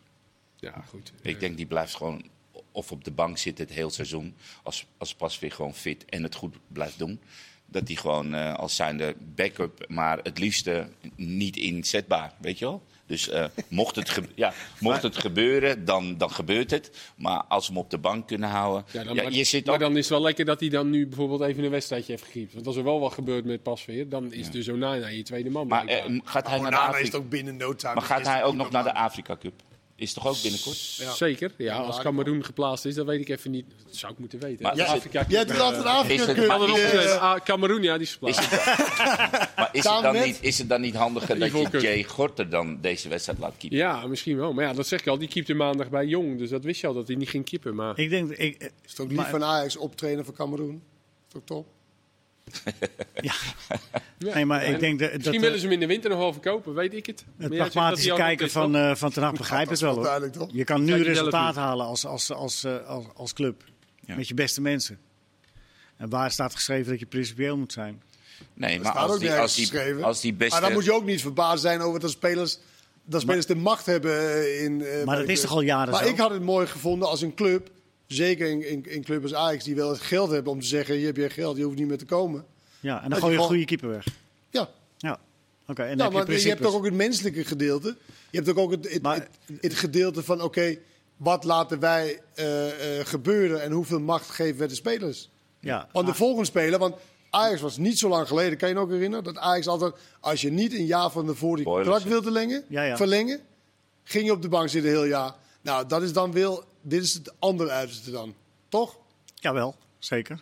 Speaker 2: ja, goed.
Speaker 4: Ik denk, die blijft gewoon of op de bank zitten het heel seizoen. Als, als Pasveer gewoon fit en het goed blijft doen. Dat hij gewoon eh, als zijnde backup, maar het liefste niet inzetbaar, weet je wel? Dus eh, mocht, het ge- ja, mocht het gebeuren, dan, dan gebeurt het. Maar als we hem op de bank kunnen houden... Ja,
Speaker 2: Ja, dan, maar,
Speaker 4: je zit
Speaker 2: maar
Speaker 4: ook,
Speaker 2: dan is het wel lekker dat hij dan nu bijvoorbeeld even een wedstrijdje heeft gekiept. Want als er wel wat gebeurt met Pasveer, dan is dus Onana je tweede man.
Speaker 4: maar
Speaker 2: blijkbaar.
Speaker 4: eh, gaat hij naar de
Speaker 3: Onana is
Speaker 4: Afrika,
Speaker 3: het ook binnen no time.
Speaker 4: maar gaat
Speaker 3: Is
Speaker 4: hij
Speaker 3: het
Speaker 4: ook nog naar de
Speaker 3: normaal?
Speaker 4: Afrika Cup? Is toch ook binnenkort?
Speaker 3: Ja.
Speaker 2: Zeker. Ja, als Cameroen geplaatst is, dat weet ik even niet. Dat zou ik moeten weten.
Speaker 4: Maar
Speaker 2: Ja,
Speaker 4: is het-
Speaker 2: Afrika.
Speaker 3: Jij doet altijd een
Speaker 4: Is
Speaker 3: Afrika
Speaker 4: het-
Speaker 3: Cup.
Speaker 4: maar
Speaker 2: Hadden we
Speaker 4: is
Speaker 3: eh,
Speaker 2: opgeschreven. Ah, Cameroen, ja, die is
Speaker 4: Is
Speaker 2: geplaatst.
Speaker 4: het, dan-
Speaker 3: Ah,
Speaker 4: maar is het,
Speaker 3: Samen
Speaker 4: dan
Speaker 3: met-
Speaker 4: niet, is het dan niet handiger dat je
Speaker 2: Ivoorkust.
Speaker 4: Jay Gorter dan deze wedstrijd laat keepen?
Speaker 2: Ja, misschien wel. Maar ja, dat zeg ik al. Die keepte maandag bij Jong. Dus dat wist je al, dat hij niet ging keepen. Maar
Speaker 1: Ik denk, ik, eh,
Speaker 3: Is het ook lief
Speaker 1: Maar-
Speaker 3: van Ajax optrainen voor Cameroen? Is het ook top?
Speaker 2: Ja.
Speaker 1: nee, maar
Speaker 2: En
Speaker 1: ik denk dat, dat
Speaker 2: misschien
Speaker 1: de-
Speaker 2: willen ze hem in de winter nog wel verkopen. Weet ik het. Maar
Speaker 1: het
Speaker 2: jij zegt dat
Speaker 1: pragmatische
Speaker 2: hij al
Speaker 1: kijken
Speaker 2: is, toch?
Speaker 1: van, eh van Ten Hag begrijpt het
Speaker 3: Dat
Speaker 1: wel.
Speaker 3: is wel
Speaker 1: Hoor.
Speaker 3: duidelijk, toch?
Speaker 1: Je kan nu
Speaker 2: Kijk je zelf
Speaker 1: resultaat
Speaker 2: niet.
Speaker 1: halen als, als, als, eh, als, als club.
Speaker 4: Ja.
Speaker 1: Met je beste mensen. En waar staat geschreven dat je principieel moet zijn?
Speaker 4: Nee, maar
Speaker 3: Staat
Speaker 4: als
Speaker 3: ook
Speaker 4: die, als,
Speaker 3: nergens
Speaker 4: die,
Speaker 3: geschreven.
Speaker 4: als die beste...
Speaker 3: Maar dan moet je ook niet verbaasd zijn over dat spelers, dat spelers de macht hebben eh, in... eh,
Speaker 1: dat
Speaker 3: bij de
Speaker 1: is
Speaker 3: club.
Speaker 1: toch al jaren
Speaker 3: Maar
Speaker 1: zo?
Speaker 3: ik had het mooi gevonden als een club, zeker in, in, in club als Ajax, die wel het geld hebben om te zeggen, hier heb je geld, je hoeft niet meer te komen.
Speaker 1: Ja, en dan
Speaker 3: je
Speaker 1: gooi je een
Speaker 3: gewoon-
Speaker 1: goede keeper weg.
Speaker 3: Ja,
Speaker 1: Ja, oké. en dan heb
Speaker 3: nou, maar
Speaker 1: je,
Speaker 3: je hebt
Speaker 1: principes.
Speaker 3: toch ook het menselijke gedeelte. Je hebt ook, ook het, het,
Speaker 1: Maar-
Speaker 3: het, het gedeelte van, oké, wat laten wij eh, eh, gebeuren en hoeveel macht geven we de spelers?
Speaker 1: Ja.
Speaker 3: Want de
Speaker 1: Ah,
Speaker 3: volgende speler, want Ajax was niet zo lang geleden, kan je je nog herinneren? Dat Ajax altijd, als je niet een jaar van tevoren die
Speaker 4: Boilers.
Speaker 3: contract wilde lengen,
Speaker 1: Ja, ja.
Speaker 3: verlengen, ging je op de bank zitten heel jaar. Nou, dat is dan wel, dit is het andere uiterste dan, toch? Nou,
Speaker 1: Jawel, zeker.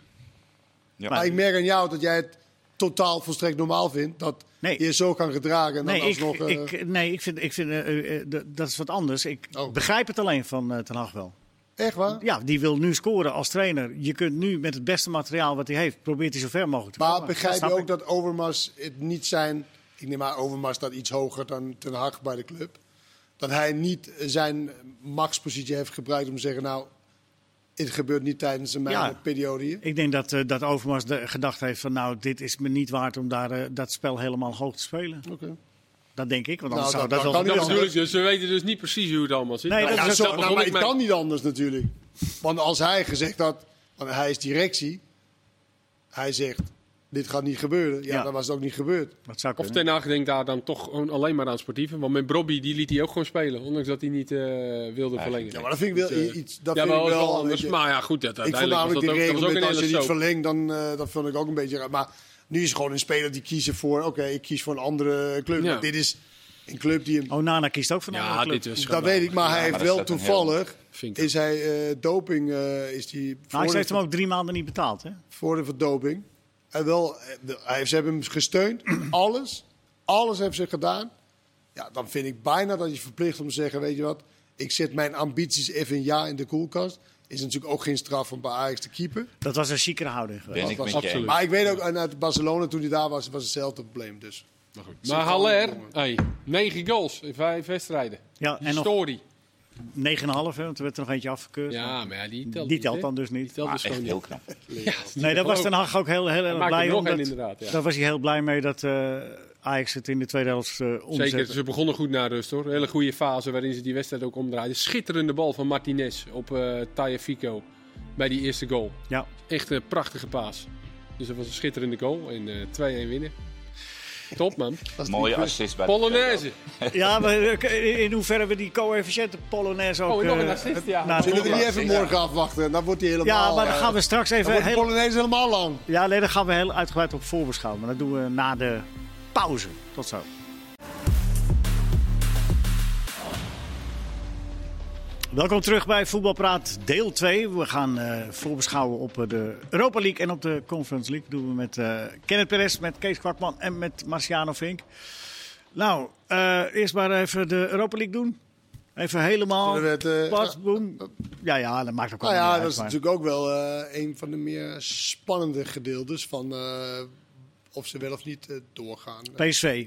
Speaker 4: Ja.
Speaker 3: Maar ik merk aan jou dat jij het totaal volstrekt normaal vindt. Dat
Speaker 1: Nee.
Speaker 3: je zo kan gedragen. En dan
Speaker 1: Nee, ik,
Speaker 3: alsnog, eh,
Speaker 1: ik, nee, ik vind, ik vind eh, eh, d- dat is wat anders. Ik
Speaker 3: Oh.
Speaker 1: begrijp het alleen van eh Ten Hag wel.
Speaker 3: Echt waar?
Speaker 1: Ja, die wil nu scoren als trainer. Je kunt nu met het beste materiaal wat hij heeft, probeert hij zo ver mogelijk te
Speaker 3: Maar
Speaker 1: komen.
Speaker 3: begrijp
Speaker 1: snap
Speaker 3: je ook
Speaker 1: ik.
Speaker 3: dat Overmars het niet zijn... Ik neem maar Overmars staat iets hoger dan Ten Hag bij de club. Dat hij niet zijn machtspositie heeft gebruikt om te zeggen... nou, het gebeurt niet tijdens mijn
Speaker 1: Ja.
Speaker 3: periode hier.
Speaker 1: Ik denk dat, eh, dat Overmars de, gedacht heeft van nou, dit is me niet waard om daar, eh, dat spel helemaal hoog te spelen.
Speaker 3: Oké.
Speaker 1: Dat denk ik, want
Speaker 3: Nou,
Speaker 1: anders zou dat,
Speaker 3: dat- dat
Speaker 1: wel...
Speaker 3: kan
Speaker 2: Dat
Speaker 3: niet
Speaker 2: bedoel ik dus. We weten dus niet precies hoe het allemaal zit.
Speaker 1: Nee,
Speaker 2: Nou
Speaker 1: dat
Speaker 2: ja,
Speaker 1: is
Speaker 3: Ja,
Speaker 1: ook
Speaker 3: zo,
Speaker 1: dat
Speaker 2: begon
Speaker 3: nou, maar
Speaker 2: ik
Speaker 3: ik
Speaker 2: met-
Speaker 3: kan niet anders natuurlijk. Want als hij gezegd had, want hij is directie, hij zegt, dit gaat niet gebeuren. Ja,
Speaker 1: Ja.
Speaker 3: dan was het ook niet gebeurd.
Speaker 1: Dat zou
Speaker 2: Of
Speaker 1: kunnen.
Speaker 2: Ten Hag denkt daar dan toch gewoon alleen maar aan sportieve. Want met Brobby, die liet hij ook gewoon spelen. Ondanks dat hij niet eh, wilde verlengen.
Speaker 3: Ja, maar dat vind ik wel
Speaker 2: Dus, eh,
Speaker 3: iets, dat
Speaker 2: ja,
Speaker 3: vind
Speaker 2: maar
Speaker 3: ik
Speaker 2: dat was
Speaker 3: wel...
Speaker 2: wel
Speaker 3: een
Speaker 2: anders.
Speaker 3: beetje-
Speaker 2: Maar ja, goed. Dat,
Speaker 3: ik vond
Speaker 2: uiteindelijk Nou, was
Speaker 3: namelijk
Speaker 2: dat
Speaker 3: die
Speaker 2: ook, dat
Speaker 3: regel
Speaker 2: was ook
Speaker 3: met
Speaker 2: een
Speaker 3: als je
Speaker 2: hele soap.
Speaker 3: niet verlengt, dan eh, dat vond ik ook een beetje raar. Maar nu is gewoon een speler die kiezen voor, oké, ik kies voor een andere club.
Speaker 2: Ja.
Speaker 3: Maar dit is een club die hem...
Speaker 1: Oh, Nana kiest ook van een
Speaker 2: Ja,
Speaker 1: andere club.
Speaker 2: dit is
Speaker 3: dat weet ik, maar hij
Speaker 4: maar
Speaker 3: heeft
Speaker 4: dat
Speaker 3: wel
Speaker 4: staat een heel-
Speaker 3: toevallig,
Speaker 2: vind ik
Speaker 3: is hij eh, doping, eh, is die...
Speaker 1: Nou, hij
Speaker 3: voor-
Speaker 1: heeft hem ook drie maanden niet betaald, hè?
Speaker 3: voor de verdoping. En wel, eh, hij- ze hebben hem gesteund. Alles. Alles hebben ze gedaan. Ja, dan vind ik bijna dat je verplicht om te zeggen: Weet je wat, ik zet mijn ambities even een jaar in de koelkast. Is natuurlijk ook geen straf om bij Ajax te keeper.
Speaker 1: Dat was een chicere houding geweest.
Speaker 4: Ben ik met je
Speaker 2: absoluut.
Speaker 4: eens.
Speaker 3: Maar ik weet ook, en uit Barcelona toen hij daar was, was hetzelfde probleem. Dus.
Speaker 2: Maar Haller, hey, 9 goals in 5 wedstrijden.
Speaker 1: Ja, en nog 9,5,
Speaker 2: Story.
Speaker 1: hè, want er werd er nog eentje afgekeurd.
Speaker 2: Ja, maar ja, die telt
Speaker 1: die
Speaker 2: niet,
Speaker 1: telt
Speaker 2: hè?
Speaker 1: dan dus
Speaker 2: Die
Speaker 1: niet.
Speaker 2: telt
Speaker 4: Maar
Speaker 2: dus
Speaker 4: echt
Speaker 2: gewoon
Speaker 4: heel
Speaker 2: niet.
Speaker 4: knap.
Speaker 1: Nee, daar was
Speaker 2: ook.
Speaker 1: Ten Hag ook heel, heel,
Speaker 2: Hij
Speaker 1: heel
Speaker 2: maakte
Speaker 1: blij
Speaker 2: er nog een,
Speaker 1: omdat,
Speaker 2: inderdaad, ja.
Speaker 1: Daar was hij heel blij mee dat eh, Ajax het in de tweede helft eh
Speaker 2: Zeker,
Speaker 1: omzette.
Speaker 2: ze begonnen goed naar rust hoor. Een hele goede fase waarin ze die wedstrijd ook omdraaiden. Schitterende bal van Martinez op eh Taya Fico bij die eerste goal.
Speaker 1: Ja.
Speaker 2: Echt een prachtige paas. Dus dat was een schitterende goal en eh 2-1 winnen. Top man.
Speaker 4: Mooie assist bij de
Speaker 2: Polonaise.
Speaker 1: ja, maar eh, in hoeverre we die coëfficiënte Polonaise ook...
Speaker 2: Oh, nog een
Speaker 1: eh,
Speaker 2: assist, Nou, ja.
Speaker 1: na het
Speaker 3: Zullen we die
Speaker 4: Ja,
Speaker 3: even
Speaker 4: zeker.
Speaker 3: morgen afwachten? En dan wordt hij helemaal.
Speaker 1: Ja, maar dan
Speaker 3: eh,
Speaker 1: gaan we straks
Speaker 3: dan wordt
Speaker 1: even
Speaker 3: de
Speaker 1: heel,
Speaker 3: Polonaise helemaal lang.
Speaker 1: ja, nee, daar gaan we heel uitgebreid op voorbeschouwen. Maar dat doen we na de pauze. Tot zo. Welkom terug bij Voetbalpraat deel 2. We gaan eh, voorbeschouwen op eh, de Europa League en op de Conference League. Dat doen we met eh Kenneth Perez, met Kees Kwakman en met Marciano Vink. Nou, eh, eerst maar even de Europa League doen. Even helemaal.
Speaker 3: Zullen we het, eh,
Speaker 1: plat, boem. Ja, ja, dat maakt ook wel
Speaker 3: Nou ja,
Speaker 1: uit,
Speaker 3: dat is
Speaker 1: maar-
Speaker 3: natuurlijk ook wel eh, een van de meer spannende gedeeltes van eh, of ze wel of niet eh, doorgaan.
Speaker 1: PSV.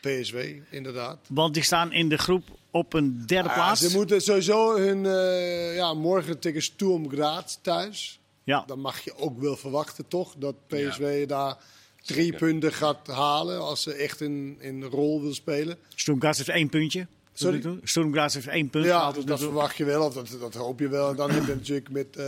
Speaker 3: PSW, inderdaad.
Speaker 1: Want die staan in de groep op een derde
Speaker 3: Ja,
Speaker 1: plaats.
Speaker 3: Ah, ze moeten sowieso hun eh, ja, morgen tegen Sturm Graz thuis.
Speaker 1: Ja,
Speaker 3: Dan mag je ook wel verwachten, toch? Dat PSW daar drie punten gaat halen als ze echt een, een rol wil spelen.
Speaker 1: Sturm Graz heeft één puntje.
Speaker 3: Sorry?
Speaker 1: Sturm Graz heeft één punt.
Speaker 3: Ja,
Speaker 1: gehaald
Speaker 3: dat,
Speaker 1: tot
Speaker 3: dat
Speaker 1: nu toe.
Speaker 3: verwacht je wel, of dat, dat hoop je wel. En dan heb je natuurlijk met eh,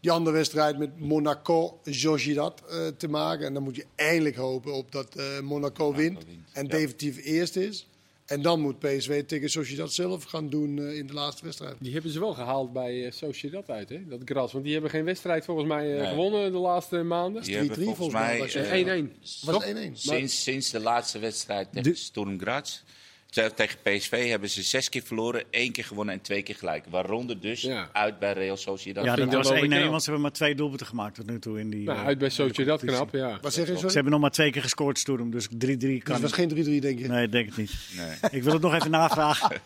Speaker 3: die andere wedstrijd met Monaco, Sociedad eh te maken. En dan moet je eindelijk hopen op dat eh, Monaco wint
Speaker 4: wint,
Speaker 3: en
Speaker 4: ja.
Speaker 3: definitief eerst is. En dan moet PSW tegen Sociedad zelf gaan doen eh, in de laatste wedstrijd.
Speaker 2: Die hebben ze wel gehaald bij eh Sociedad uit, hè? dat gras. Want die hebben geen wedstrijd volgens mij eh,
Speaker 4: Nee.
Speaker 2: gewonnen de laatste maanden.
Speaker 4: Die hebben
Speaker 3: 3-3
Speaker 4: volgens
Speaker 3: volgens mij
Speaker 4: mij
Speaker 3: was
Speaker 2: Eh,
Speaker 4: eh,
Speaker 2: 1-1.
Speaker 3: Was het 1-1?
Speaker 4: sinds, sinds de laatste wedstrijd tegen Sturm Graz. te- Tegen PSV hebben ze zes keer verloren, één keer gewonnen en twee keer gelijk. Waaronder dus
Speaker 2: Ja.
Speaker 4: uit bij Real Sociedad.
Speaker 1: ja,
Speaker 2: vind
Speaker 1: dat
Speaker 2: ik dan
Speaker 1: was
Speaker 2: wel weer
Speaker 1: 1-1,
Speaker 2: knap.
Speaker 1: want ze hebben maar twee doelpunten gemaakt tot nu toe. In die,
Speaker 2: Nou,
Speaker 1: eh,
Speaker 2: uit bij Sociedad knap, ja.
Speaker 3: Wat zeg je zo?
Speaker 1: Ze hebben nog maar twee keer gescoord, Sturm. Dus 3-3
Speaker 3: Dus
Speaker 1: kan
Speaker 3: het was
Speaker 1: niet.
Speaker 3: geen 3-3, denk je?
Speaker 1: Nee, ik denk het niet.
Speaker 4: Nee.
Speaker 1: Ik wil het nog even navragen.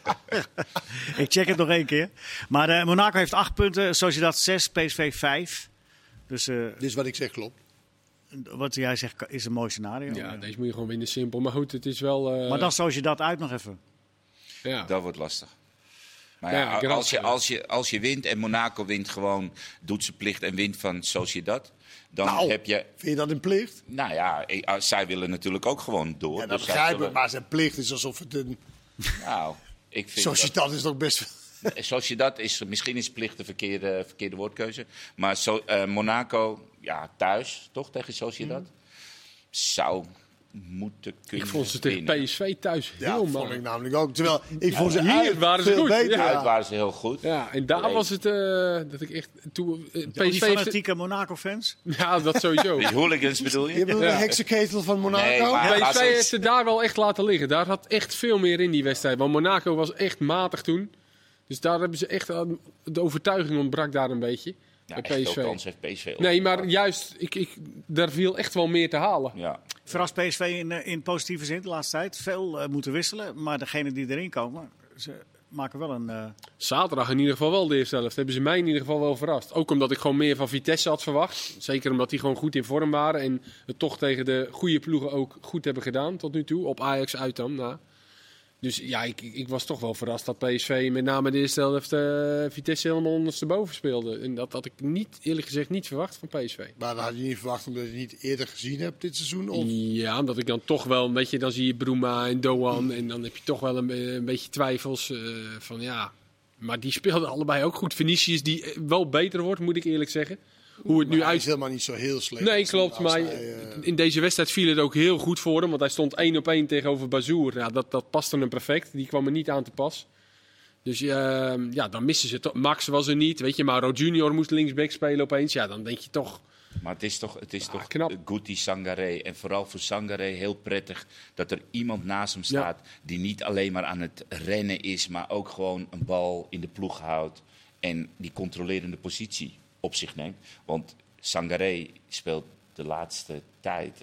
Speaker 1: ik check het nog één keer. Maar eh, Monaco heeft acht punten, Sociedad zes, PSV vijf. Dus eh,
Speaker 3: Dit is wat ik zeg, klopt.
Speaker 1: wat jij zegt is een mooi scenario.
Speaker 2: Ja, deze moet je gewoon winnen simpel. Maar goed, het is wel... eh,
Speaker 1: Maar dan Sociedad uit nog even.
Speaker 2: ja.
Speaker 4: Dat wordt lastig. Maar
Speaker 2: Nou Ja,
Speaker 4: ja,
Speaker 2: Graz-
Speaker 4: als, je, als, je, als je wint en Monaco wint gewoon, doet zijn plicht en wint van Sociedad. Dan
Speaker 3: Nou.
Speaker 4: heb je,
Speaker 3: Vind je dat een plicht?
Speaker 4: nou ja, eh, ah, zij willen natuurlijk ook gewoon door.
Speaker 3: Ja, dat
Speaker 4: Dus zij
Speaker 3: begrijp ik.
Speaker 4: zullen-
Speaker 3: Maar zijn plicht is alsof het een...
Speaker 4: Nou, ik vind dat-
Speaker 3: Sociedad is toch best...
Speaker 4: Sociedad is misschien is plicht de verkeerde, verkeerde woordkeuze. Maar so- eh, Monaco, ja, thuis toch tegen
Speaker 3: Hmm.
Speaker 4: Sociedad? Zou moeten
Speaker 2: Ik
Speaker 4: kunnen.
Speaker 2: vond ze tegen
Speaker 4: winnen.
Speaker 2: PSV thuis
Speaker 3: Ja,
Speaker 2: heel
Speaker 3: dat
Speaker 2: man.
Speaker 3: vond ik namelijk ook. Terwijl, ik vond ze
Speaker 2: hier
Speaker 3: uit
Speaker 2: waren ze
Speaker 3: veel
Speaker 2: goed,
Speaker 3: beter.
Speaker 4: Uit
Speaker 3: Ja.
Speaker 4: waren ze heel goed.
Speaker 2: Ja, en daar
Speaker 4: Alleen-
Speaker 2: was het eh, dat ik echt... Toen, eh,
Speaker 1: Al die
Speaker 2: PSV heeft-
Speaker 1: fanatieke Monaco-fans.
Speaker 2: Ja, dat sowieso.
Speaker 4: Die hooligans bedoel je?
Speaker 3: Je bedoelt
Speaker 2: Ja.
Speaker 3: de heksenketel van Monaco?
Speaker 4: Nee, maar- Ja,
Speaker 2: PSV
Speaker 4: ze-
Speaker 2: heeft ze daar wel echt laten liggen. Daar had echt veel meer in die wedstrijd. Want Monaco was echt matig toen. Dus daar hebben ze echt... aan- De overtuiging eh, ontbrak daar een beetje.
Speaker 4: Ja,
Speaker 2: bij
Speaker 4: echt
Speaker 2: PSV.
Speaker 4: veel kans heeft PSV ook.
Speaker 2: Nee, maar juist, ik, ik, daar viel echt wel meer te halen.
Speaker 4: Ja.
Speaker 1: Verrast PSV in, eh, in positieve zin de laatste tijd. Veel eh, moeten wisselen, maar degenen die erin komen, ze maken wel een... eh,
Speaker 2: Zaterdag in ieder geval wel de eerste helft. Hebben ze mij in ieder geval wel verrast. Ook omdat ik gewoon meer van Vitesse had verwacht. Zeker omdat die gewoon goed in vorm waren. En het toch tegen de goede ploegen ook goed hebben gedaan tot nu toe. Op Ajax uit dan. na. Dus ja, ik, ik ik was toch wel verrast dat PSV met name de eerste helft eh, Vitesse helemaal ondersteboven speelde. En dat had ik niet, eerlijk gezegd niet verwacht van PSV.
Speaker 3: Maar dat had je niet verwacht omdat je het niet eerder gezien hebt dit seizoen? Of
Speaker 2: Ja, omdat ik dan toch wel, weet je, dan zie je Bruma en Doan en dan heb je toch wel een, be- een beetje twijfels eh, van ja. Maar die speelden allebei ook goed. Vinicius die eh, wel beter wordt, moet ik eerlijk zeggen. Hoe het nu
Speaker 3: hij is
Speaker 2: uit...
Speaker 3: helemaal niet zo heel slecht.
Speaker 2: Nee,
Speaker 3: Als-
Speaker 2: klopt,
Speaker 3: als
Speaker 2: maar
Speaker 3: hij, eh,
Speaker 2: in deze wedstrijd viel het ook heel goed voor hem. Want hij stond één op één tegenover Bazoer. Ja, dat, dat paste hem perfect. Die kwam er niet aan te pas. Dus eh, ja, dan missen ze toch. Max was er niet, weet je. Mauro Junior moest linksback spelen opeens. Ja, dan denk je toch...
Speaker 4: Maar het is toch, het is
Speaker 2: Ah,
Speaker 4: toch
Speaker 2: knap.
Speaker 4: Guti Sangaré. En vooral voor Sangaré heel prettig dat er iemand naast hem
Speaker 2: Ja.
Speaker 4: staat. die niet alleen maar aan het rennen is, maar ook gewoon een bal in de ploeg houdt. en die controlerende positie op zich neemt. Want Sangaré speelt de laatste tijd.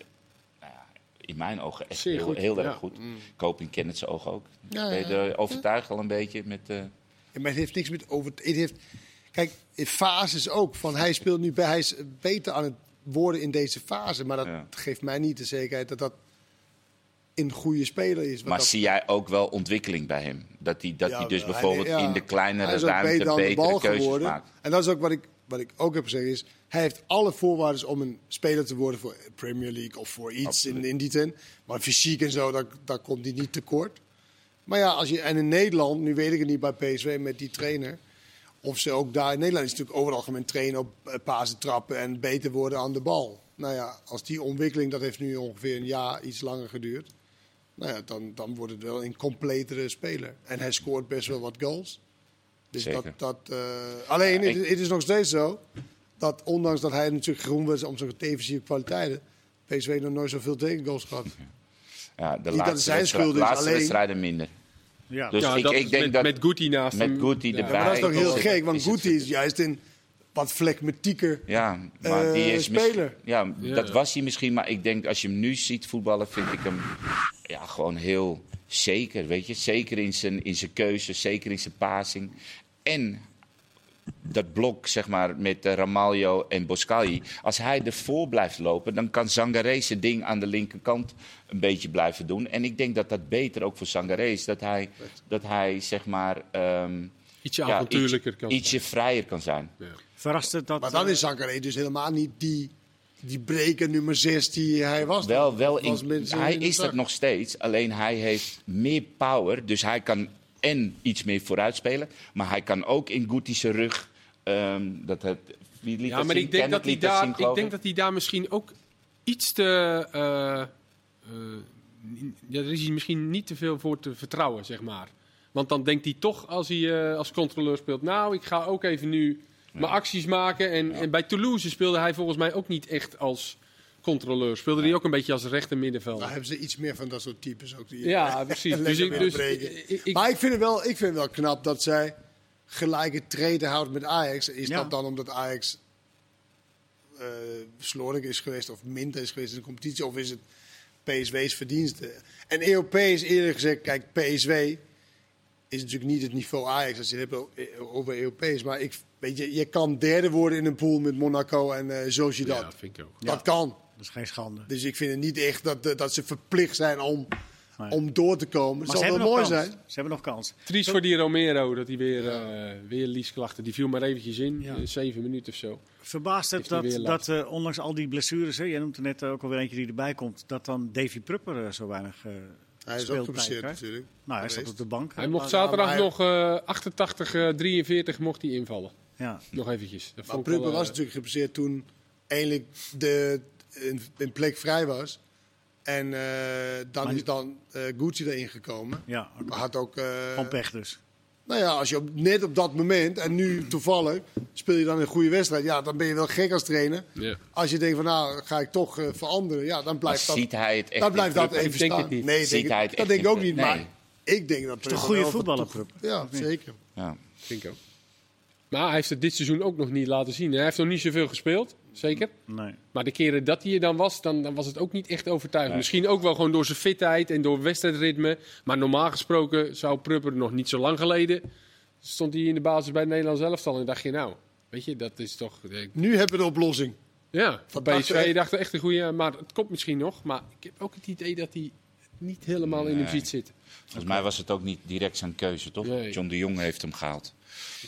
Speaker 4: nou ja, In mijn ogen echt
Speaker 2: Zeer
Speaker 4: heel,
Speaker 2: goed,
Speaker 4: heel erg
Speaker 2: ja. Mm.
Speaker 4: goed. Koping kent het zijn ogen ook.
Speaker 3: Ja,
Speaker 4: ben je
Speaker 3: ja,
Speaker 4: er overtuigd al een beetje met. eh,
Speaker 3: Ja, Maar het heeft niks met over. Het heeft, kijk, in fases ook. Van hij speelt nu bij, hij is beter aan het worden in deze fase. Maar dat
Speaker 4: Ja.
Speaker 3: geeft mij niet de zekerheid dat dat een goede speler is. Want
Speaker 4: Maar
Speaker 3: dat,
Speaker 4: zie jij ook wel ontwikkeling bij hem? Dat hij, dat
Speaker 3: Ja,
Speaker 4: hij dus
Speaker 3: hij-
Speaker 4: bijvoorbeeld
Speaker 3: ja.
Speaker 4: in de kleinere
Speaker 3: Hij is ook
Speaker 4: ruimte
Speaker 3: beter aan de
Speaker 4: betere
Speaker 3: bal
Speaker 4: keuzes
Speaker 3: geworden.
Speaker 4: maakt?
Speaker 3: En dat is ook wat ik, wat ik ook heb gezegd. Is, hij heeft alle voorwaarden om een speler te worden voor Premier League of voor iets in,
Speaker 4: Absoluut.
Speaker 3: in die ten. Maar fysiek en zo, daar, daar komt hij niet tekort. Maar ja, als je, en in Nederland, nu weet ik het niet bij PSV met die trainer. Of ze ook daar in Nederland is het natuurlijk overal algemeen trainen op eh, pasen trappen en beter worden aan de bal. Nou ja, als die ontwikkeling, dat heeft nu ongeveer een jaar, iets langer geduurd. Nou ja, dan, dan wordt het wel een completere speler. En hij scoort best wel wat goals. Dus
Speaker 4: Zeker.
Speaker 3: dat. dat eh, alleen,
Speaker 4: Ja,
Speaker 3: het,
Speaker 4: ik-
Speaker 3: het is nog steeds zo dat ondanks dat hij natuurlijk geroemd was om zijn defensieve kwaliteiten. PSV nog nooit zoveel tegengoals gehad.
Speaker 4: Ja, de
Speaker 3: dat
Speaker 4: laatste,
Speaker 3: zijn
Speaker 4: wedstrijd-
Speaker 3: schuld is,
Speaker 4: laatste
Speaker 3: alleen-
Speaker 4: wedstrijden minder.
Speaker 1: ja.
Speaker 4: Dus
Speaker 2: Ja,
Speaker 4: ik,
Speaker 2: dat
Speaker 4: ik
Speaker 2: is
Speaker 4: denk
Speaker 2: met,
Speaker 4: dat
Speaker 2: met Guti naast
Speaker 4: met
Speaker 2: hem.
Speaker 4: Guti
Speaker 2: Ja.
Speaker 4: erbij...
Speaker 3: maar dat is toch heel
Speaker 4: het-
Speaker 3: gek, want
Speaker 4: is het
Speaker 3: Guti is juist een wat vlekmetieker.
Speaker 4: Ja, maar
Speaker 3: eh,
Speaker 4: die is mis-
Speaker 3: speler.
Speaker 4: Ja,
Speaker 2: Ja.
Speaker 4: dat was hij misschien. Maar ik denk, als je hem nu ziet voetballen, vind ik hem ja, gewoon heel zeker. Weet je? Zeker in zijn, in zijn keuze, zeker in zijn passing. En dat blok, zeg maar, met eh, Ramalho en Boscagli. Als hij ervoor blijft lopen, dan kan Sangaré zijn ding aan de linkerkant een beetje blijven doen. En ik denk dat dat beter ook voor Sangaré is. Dat hij, dat hij zeg maar... ehm,
Speaker 2: Ietsje
Speaker 4: ja,
Speaker 2: avontuurlijker
Speaker 4: iets-
Speaker 2: kan zijn.
Speaker 4: Ietsje vrijer kan zijn.
Speaker 1: Verrast het dat...
Speaker 3: Maar dan is Zangaré dus helemaal niet die, die breker nummer 6 die hij was.
Speaker 4: Wel, wel
Speaker 3: was
Speaker 4: in-
Speaker 3: mensen
Speaker 4: hij
Speaker 3: in de
Speaker 4: is dat
Speaker 3: zak.
Speaker 4: nog steeds. Alleen hij heeft meer power. Dus hij kan en iets meer vooruit spelen. Maar hij kan ook in Guti zijn rug. ehm, dat het, wie liet
Speaker 2: Ja,
Speaker 4: dat
Speaker 2: maar
Speaker 4: zien?
Speaker 2: ik denk,
Speaker 4: Kenneth
Speaker 2: dat hij
Speaker 4: liet dat
Speaker 2: daar,
Speaker 4: zien,
Speaker 2: ik
Speaker 4: geloof
Speaker 2: denk dat hij daar misschien ook iets te. eh, eh, n- ja, er is hij misschien niet te veel voor te vertrouwen, zeg maar. Want dan denkt hij toch, als hij eh, als controleur speelt, nou, ik ga ook even nu mijn acties maken. En, en bij Toulouse speelde hij volgens mij ook niet echt als controleur. Speelde hij ook een beetje als rechter
Speaker 3: Nou
Speaker 2: middenvelder.
Speaker 3: hebben ze iets meer van dat soort types ook. Die
Speaker 2: Ja, precies. Dus
Speaker 3: Lekker
Speaker 2: ik, dus
Speaker 3: breken.
Speaker 2: ik- ik-
Speaker 3: maar ik vind, het wel, ik vind het wel knap dat zij gelijke treden houdt met Ajax. Is
Speaker 1: Ja.
Speaker 3: dat dan omdat Ajax eh slordig is geweest of minder is geweest in de competitie? Of is het PSW's verdiensten? En E Europees eerlijk gezegd, kijk, PSW is natuurlijk niet het niveau Ajax als je het hebt o- eh, over Europees. Maar ik, weet je, je kan derde worden in een pool met Monaco en eh Sociedad.
Speaker 2: ja, vind ik ook.
Speaker 3: Dat kan.
Speaker 1: Dat is geen schande.
Speaker 3: Dus ik vind het niet echt dat, eh, dat ze verplicht zijn om,
Speaker 1: Nee.
Speaker 3: om door te komen.
Speaker 1: Maar
Speaker 3: Het zal wel mooi
Speaker 1: nog kans.
Speaker 3: zijn.
Speaker 1: Ze hebben nog kans.
Speaker 2: Triest voor die Romero, dat hij weer, eh weer liesklachten. Die viel maar eventjes in,
Speaker 1: Ja.
Speaker 2: eh, zeven minuten of zo.
Speaker 1: Verbaast het
Speaker 2: Is die
Speaker 1: dat,
Speaker 2: weer
Speaker 1: dat eh, ondanks al die blessures, hè, jij noemt er net eh, ook alweer eentje die erbij komt, dat dan Davy Prupper eh, zo weinig eh
Speaker 3: Hij is ook
Speaker 1: speeltijd
Speaker 3: geblesseerd
Speaker 1: krijgt?
Speaker 3: natuurlijk.
Speaker 1: Nou, hij zat
Speaker 3: Geweest.
Speaker 1: op de bank.
Speaker 2: Hij mocht
Speaker 3: maar- nou,
Speaker 2: zaterdag
Speaker 3: maar hij-
Speaker 2: nog eh 88, eh, 43 mocht hij invallen.
Speaker 1: Ja.
Speaker 2: Nog eventjes. Dat
Speaker 3: Maar
Speaker 2: vond ik wel,
Speaker 3: Prupper was
Speaker 2: eh,
Speaker 3: natuurlijk geblesseerd toen eindelijk de, een, een plek vrij was. En eh, dan
Speaker 1: Maar nu-
Speaker 3: is dan eh Gucci erin gekomen.
Speaker 1: Ja, oké.
Speaker 3: Maar had ook... eh,
Speaker 1: Van pech dus.
Speaker 3: nou ja, als je op, net op dat moment, en nu toevallig, speel je dan een goede wedstrijd. Ja, dan ben je wel gek als trainer.
Speaker 2: Ja.
Speaker 3: Als je denkt van nou, ga ik toch eh, veranderen. Ja, dan
Speaker 4: Maar
Speaker 3: blijft dat...
Speaker 4: ziet hij het echt
Speaker 3: Dan blijft
Speaker 4: in
Speaker 3: dat
Speaker 4: Prupper?
Speaker 3: even
Speaker 2: Ik denk
Speaker 3: staan.
Speaker 2: het niet.
Speaker 3: Nee, ik
Speaker 4: Ziet
Speaker 3: denk,
Speaker 4: hij
Speaker 3: het-
Speaker 4: het
Speaker 3: dat
Speaker 4: echt
Speaker 3: denk ik ook
Speaker 4: niet?
Speaker 3: niet.
Speaker 4: Nee.
Speaker 3: Maar ik denk dat
Speaker 1: Toch
Speaker 3: Prupper
Speaker 1: goede
Speaker 3: wel-
Speaker 1: voetballer, Prupper.
Speaker 3: Ja,
Speaker 1: Of niet?
Speaker 3: zeker.
Speaker 4: Ja,
Speaker 2: vind ik ook. Maar hij heeft het dit seizoen ook nog niet laten zien. En Hij heeft nog niet zoveel gespeeld, zeker.
Speaker 1: Nee.
Speaker 2: Maar de keren dat hij er dan was, dan, dan was het ook niet echt overtuigend.
Speaker 4: Nee.
Speaker 2: Misschien ook wel gewoon door zijn fitheid en door wedstrijdritme. Maar normaal gesproken zou Prupper nog niet zo lang geleden... stond hij in de basis bij het Nederlands elftal en dacht je nou... Weet je, dat is toch... eh,
Speaker 3: Nu hebben we de oplossing.
Speaker 2: Ja, van
Speaker 3: Van
Speaker 2: PSV
Speaker 3: dachten-
Speaker 2: dacht echt een goede... Maar het komt misschien nog. Maar ik heb ook het idee dat hij niet helemaal in
Speaker 4: Nee.
Speaker 2: de fiets zit.
Speaker 4: Volgens mij was het ook niet direct zijn keuze, toch?
Speaker 2: Nee.
Speaker 4: John de Jong heeft hem gehaald.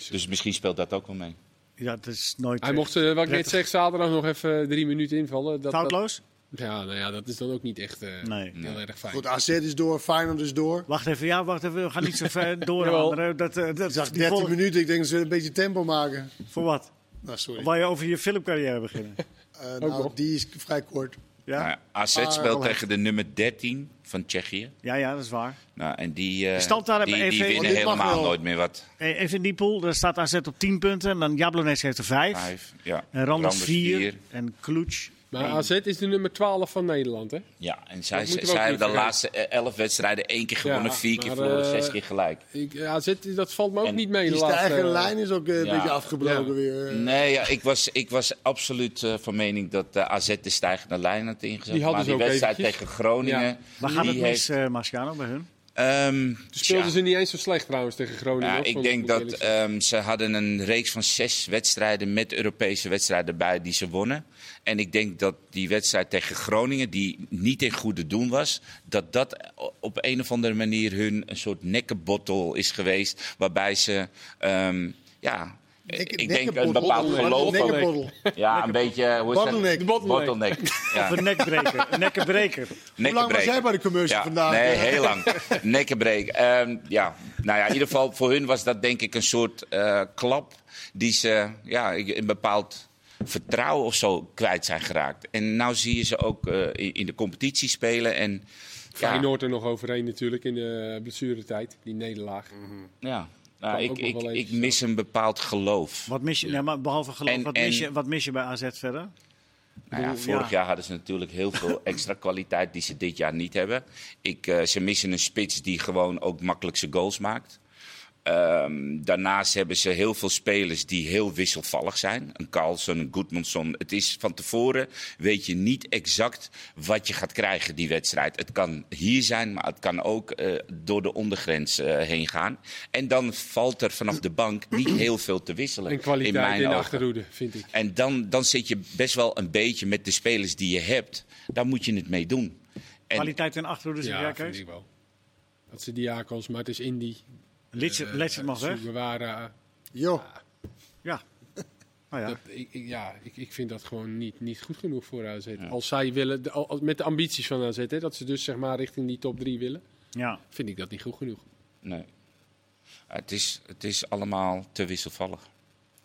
Speaker 4: Dus misschien speelt dat ook wel mee.
Speaker 1: Ja, het is nooit
Speaker 2: Hij
Speaker 1: eh,
Speaker 2: mocht, eh, wat ik net
Speaker 1: prettig.
Speaker 2: zeg, zaterdag nog even eh, drie minuten invallen. Dat, dat,
Speaker 1: foutloos.
Speaker 2: ja, nou ja, dat is dan ook niet echt eh,
Speaker 1: Nee.
Speaker 2: heel erg fijn.
Speaker 3: Goed, AZ is door, Feyenoord is door.
Speaker 1: Wacht even, ja, wacht even. We gaan niet zo ver door.
Speaker 2: Jawel.
Speaker 1: André. Dat, eh, dat
Speaker 3: Ik zag
Speaker 1: die
Speaker 3: 13
Speaker 1: volg-
Speaker 3: minuten, ik denk dat ze een beetje tempo maken.
Speaker 1: Voor wat?
Speaker 3: Nou, sorry.
Speaker 1: Waar je over je filmcarrière beginnen.
Speaker 3: Eh,
Speaker 2: Ook
Speaker 3: nou,
Speaker 2: nog.
Speaker 3: die is vrij kort.
Speaker 1: Ja?
Speaker 4: Nou,
Speaker 1: ja.
Speaker 4: AZ
Speaker 3: Ah,
Speaker 4: speelt
Speaker 3: Roland.
Speaker 4: tegen de nummer 13 van Tsjechië.
Speaker 1: ja, dat is waar.
Speaker 4: Nou, en die, eh,
Speaker 1: De stand daar
Speaker 4: die,
Speaker 1: hebben
Speaker 4: die
Speaker 1: even-
Speaker 3: Oh,
Speaker 4: winnen
Speaker 3: dit mag
Speaker 4: helemaal
Speaker 3: wel.
Speaker 4: nooit meer wat.
Speaker 1: E- Even in die pool, daar staat AZ op 10 punten. En dan Jablonec heeft er 5.
Speaker 4: Vijf. Ja.
Speaker 1: En Randers
Speaker 4: Randers
Speaker 1: 4.
Speaker 4: vier.
Speaker 1: En Kloets.
Speaker 2: Maar AZ is de nummer 12 van Nederland, hè?
Speaker 4: Ja, en zij,
Speaker 2: Dat moeten
Speaker 4: zij,
Speaker 2: we ook
Speaker 4: hebben
Speaker 2: niet
Speaker 4: de laatste eh, elf wedstrijden één keer gewonnen,
Speaker 2: Ja,
Speaker 4: vier keer
Speaker 2: maar,
Speaker 4: verloren,
Speaker 2: eh,
Speaker 4: zes keer gelijk.
Speaker 2: Ik, AZ, dat valt me ook
Speaker 4: En
Speaker 2: niet mee.
Speaker 3: Die
Speaker 2: de laatste-
Speaker 3: stijgende lijn is ook eh, een
Speaker 4: Ja.
Speaker 3: beetje afgebroken
Speaker 2: Ja.
Speaker 3: weer. eh,
Speaker 4: Nee, ja, ik, was, ik was absoluut eh, van mening dat eh, AZ de stijgende lijn had ingezet.
Speaker 2: Die hadden
Speaker 4: maar
Speaker 2: ze
Speaker 4: die
Speaker 2: ook
Speaker 4: wedstrijd
Speaker 2: eventjes.
Speaker 4: tegen Groningen...
Speaker 2: Ja.
Speaker 1: Waar gaat
Speaker 4: die
Speaker 1: het mis,
Speaker 4: heeft,
Speaker 1: eh Marciano, bij hun?
Speaker 4: ehm,
Speaker 2: Toen speelden
Speaker 4: tja.
Speaker 2: ze niet eens zo slecht trouwens tegen Groningen.
Speaker 4: Ja,
Speaker 2: hoor,
Speaker 4: ik
Speaker 2: vond
Speaker 4: denk
Speaker 2: moet
Speaker 4: dat
Speaker 2: eerlijk zeggen.
Speaker 4: ehm, ze hadden een reeks van zes wedstrijden met Europese wedstrijden erbij die ze wonnen. En ik denk dat die wedstrijd tegen Groningen, die niet in goede doen was, dat dat op een of andere manier hun een soort nekkenbottel is geweest. Waarbij ze, ehm, ja,
Speaker 3: Nek-
Speaker 4: ik denk een
Speaker 3: nekkenboddel.
Speaker 4: bepaald
Speaker 3: Wat-
Speaker 4: geloof
Speaker 2: nek-
Speaker 4: ook.
Speaker 3: nekkenboddel.
Speaker 4: Ja, een beetje, hoe is dat?
Speaker 3: Bottleneck.
Speaker 4: Bottleneck. Ja.
Speaker 1: Voor nekbreker. nekkenbreker.
Speaker 3: Hoe lang was
Speaker 4: Nekkenbreker.
Speaker 3: jij bij de commercial
Speaker 4: Ja,
Speaker 3: vandaag? eh,
Speaker 4: Nee, heel lang. Nekkenbreek. Ehm, ja, nou ja, in ieder geval voor hun was dat denk ik een soort eh, klap die ze ja, een bepaald vertrouwen of zo kwijt zijn geraakt. En nou zie je ze ook eh, in, in de competitie spelen en ja,
Speaker 2: Feyenoord er nog overheen natuurlijk in de blessuretijd, die nederlaag.
Speaker 4: Mm. ja. Nou,
Speaker 2: Kan
Speaker 4: ik,
Speaker 2: ook nog
Speaker 4: ik,
Speaker 2: wel
Speaker 4: ik
Speaker 2: even
Speaker 4: mis een bepaald geloof.
Speaker 1: Wat mis je? Nee, maar behalve geloof,
Speaker 4: En-
Speaker 1: wat, mis
Speaker 4: en-
Speaker 1: je, wat mis je bij AZ verder?
Speaker 4: Nou ja,
Speaker 1: bedoel,
Speaker 4: vorig
Speaker 1: ja.
Speaker 4: jaar hadden ze natuurlijk heel veel extra kwaliteit die ze dit jaar niet hebben. Ik, eh, ze missen een spits die gewoon ook makkelijk zijn goals maakt. Ehm, daarnaast hebben ze heel veel spelers die heel wisselvallig zijn. Een Carlson, een Goodmanson. Het is van tevoren weet je niet exact wat je gaat krijgen die wedstrijd. Het kan hier zijn, maar het kan ook eh, door de ondergrens eh, heen gaan. En dan valt er vanaf de bank niet heel veel te wisselen.
Speaker 2: En kwaliteit in,
Speaker 4: mijn
Speaker 2: de
Speaker 4: ogen.
Speaker 2: achterhoede, vind ik.
Speaker 4: En dan, dan zit je best wel een beetje met de spelers die je hebt. Daar moet je het mee doen. En
Speaker 1: Kwaliteit en achterhoede, zeg
Speaker 2: Ja,
Speaker 1: jij,
Speaker 2: vind
Speaker 1: Kees?
Speaker 2: ik wel. Dat ze diakons, maar het is Indy. eh,
Speaker 1: Lidse- Letsen Eh, mag weg.
Speaker 2: We waren,
Speaker 3: Joh,
Speaker 1: Ja. Nou ja.
Speaker 2: dat, ik, ik- ja, ik, ik vind dat gewoon niet, niet goed genoeg voor AZ. Als zij willen, de- al- als- met de ambities van AZ, hè, dat ze dus zeg maar richting die top 3 willen,
Speaker 1: ja.
Speaker 2: vind ik dat niet goed genoeg.
Speaker 4: nee. Ah, het, is, het is allemaal te wisselvallig.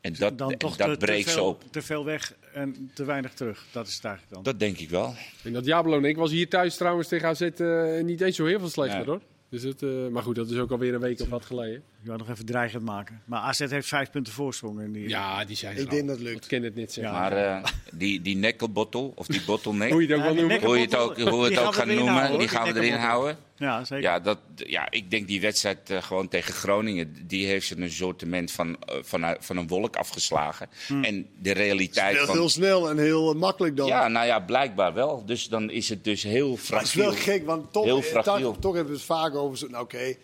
Speaker 4: En dat,
Speaker 1: Dan
Speaker 4: en
Speaker 1: toch
Speaker 4: dat
Speaker 1: te, te
Speaker 4: breekt ze
Speaker 1: veel,
Speaker 4: op.
Speaker 1: te veel weg en te weinig terug. Dat is het eigenlijk dan.
Speaker 4: Dat denk ik wel.
Speaker 2: En dat Jablon, ik was hier thuis trouwens tegen AZ eh, niet eens zo heel veel slechter
Speaker 4: Nee.
Speaker 2: hoor. Dus dat, eh, maar goed, dat is ook alweer een week of wat geleden.
Speaker 1: Je wou nog even dreigend maken. Maar AZ heeft vijf punten voorsprong. In die...
Speaker 2: Ja, die zijn er
Speaker 3: ik
Speaker 2: al.
Speaker 3: denk dat
Speaker 2: Ik
Speaker 3: lukt.
Speaker 2: ken het niet zeggen.
Speaker 1: Ja.
Speaker 4: Maar eh, die, die nekkelbottel, of die bottleneck,
Speaker 2: Hoe je
Speaker 4: hoe
Speaker 2: het ook
Speaker 1: Ja, die
Speaker 2: wel noemen.
Speaker 1: nek-
Speaker 4: je het ook, hoe we
Speaker 1: Die
Speaker 4: het
Speaker 1: gaan
Speaker 4: ook
Speaker 1: we
Speaker 4: gaan
Speaker 1: erin houden,
Speaker 4: noemen,
Speaker 1: hoor,
Speaker 4: die
Speaker 1: die
Speaker 4: gaan we erin
Speaker 1: nekkelbottel.
Speaker 4: houden.
Speaker 1: Ja, zeker.
Speaker 4: Ja, dat, ja, ik denk die wedstrijd eh, gewoon tegen Groningen, die heeft ze een soortement van, eh, van, van een wolk afgeslagen.
Speaker 1: Hmm.
Speaker 4: En de realiteit
Speaker 3: Speelt
Speaker 4: van...
Speaker 3: heel snel en heel eh, makkelijk dan.
Speaker 4: Ja, nou ja, blijkbaar wel. Dus dan is het dus heel fragiel.
Speaker 3: Maar het is wel gek, want toch,
Speaker 4: Heel
Speaker 3: eh,
Speaker 4: fragiel.
Speaker 3: toch, toch hebben we het vaak over. zo- Nou, oké,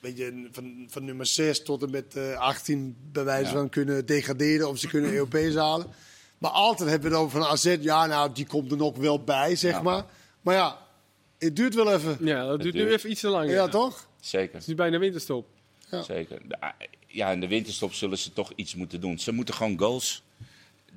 Speaker 3: weet je, van, van nummer 6 tot en met eh 18 bij wijze van kunnen degraderen of ze kunnen Europees halen. Maar altijd hebben we dan van AZ, ja, nou, die komt er nog wel bij, zeg
Speaker 4: Ja.
Speaker 3: maar. Maar ja, het duurt wel even. Ja,
Speaker 2: Ja, dat duurt nu
Speaker 4: duurt.
Speaker 2: even iets te lang. Het
Speaker 3: toch?
Speaker 4: Zeker,
Speaker 2: is nu bijna winterstop.
Speaker 4: zeker. De- ah, Ja, in de winterstop zullen ze toch iets moeten doen. Ze moeten gewoon goals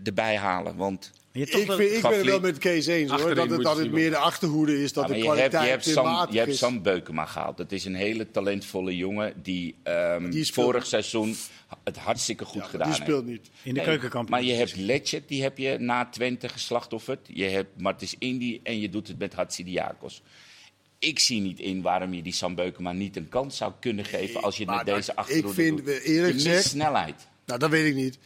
Speaker 4: erbij halen. Want
Speaker 1: Je hebt
Speaker 3: Ik,
Speaker 1: toch wel-
Speaker 3: vind, ik ben het wel
Speaker 4: Gafli-
Speaker 3: met Kees eens, hoor.
Speaker 2: Achterin
Speaker 3: Dat het,
Speaker 2: moet
Speaker 3: dat
Speaker 2: het
Speaker 3: het
Speaker 2: zien
Speaker 3: meer de achterhoede is, dat
Speaker 4: ja,
Speaker 3: de
Speaker 4: maar je hebt, je,
Speaker 3: kwaliteit
Speaker 4: hebt Sam,
Speaker 3: matig
Speaker 4: je hebt
Speaker 3: is.
Speaker 4: Sam Beukema gehaald. Dat is een hele talentvolle jongen die, ehm,
Speaker 3: Die speelt-
Speaker 4: vorig seizoen het hartstikke goed
Speaker 3: Ja, maar
Speaker 4: gedaan
Speaker 3: die
Speaker 4: heeft.
Speaker 3: speelt niet.
Speaker 1: In de
Speaker 4: Nee,
Speaker 1: keukenkamp.
Speaker 4: Maar je hebt Lecce, die heb je na Twente geslachtofferd. Je hebt Martens Indy en je doet het met Hatsidiakos. Ik zie niet in waarom je die Sam Beukema niet een kans zou kunnen geven als je het
Speaker 3: maar
Speaker 4: met
Speaker 3: dat-
Speaker 4: deze
Speaker 3: ik
Speaker 4: achterhoede
Speaker 3: vind, eh,
Speaker 4: doet.
Speaker 3: eerlijk
Speaker 4: Je mist
Speaker 3: gezegd-
Speaker 4: snelheid.
Speaker 3: Nou, dat weet ik niet.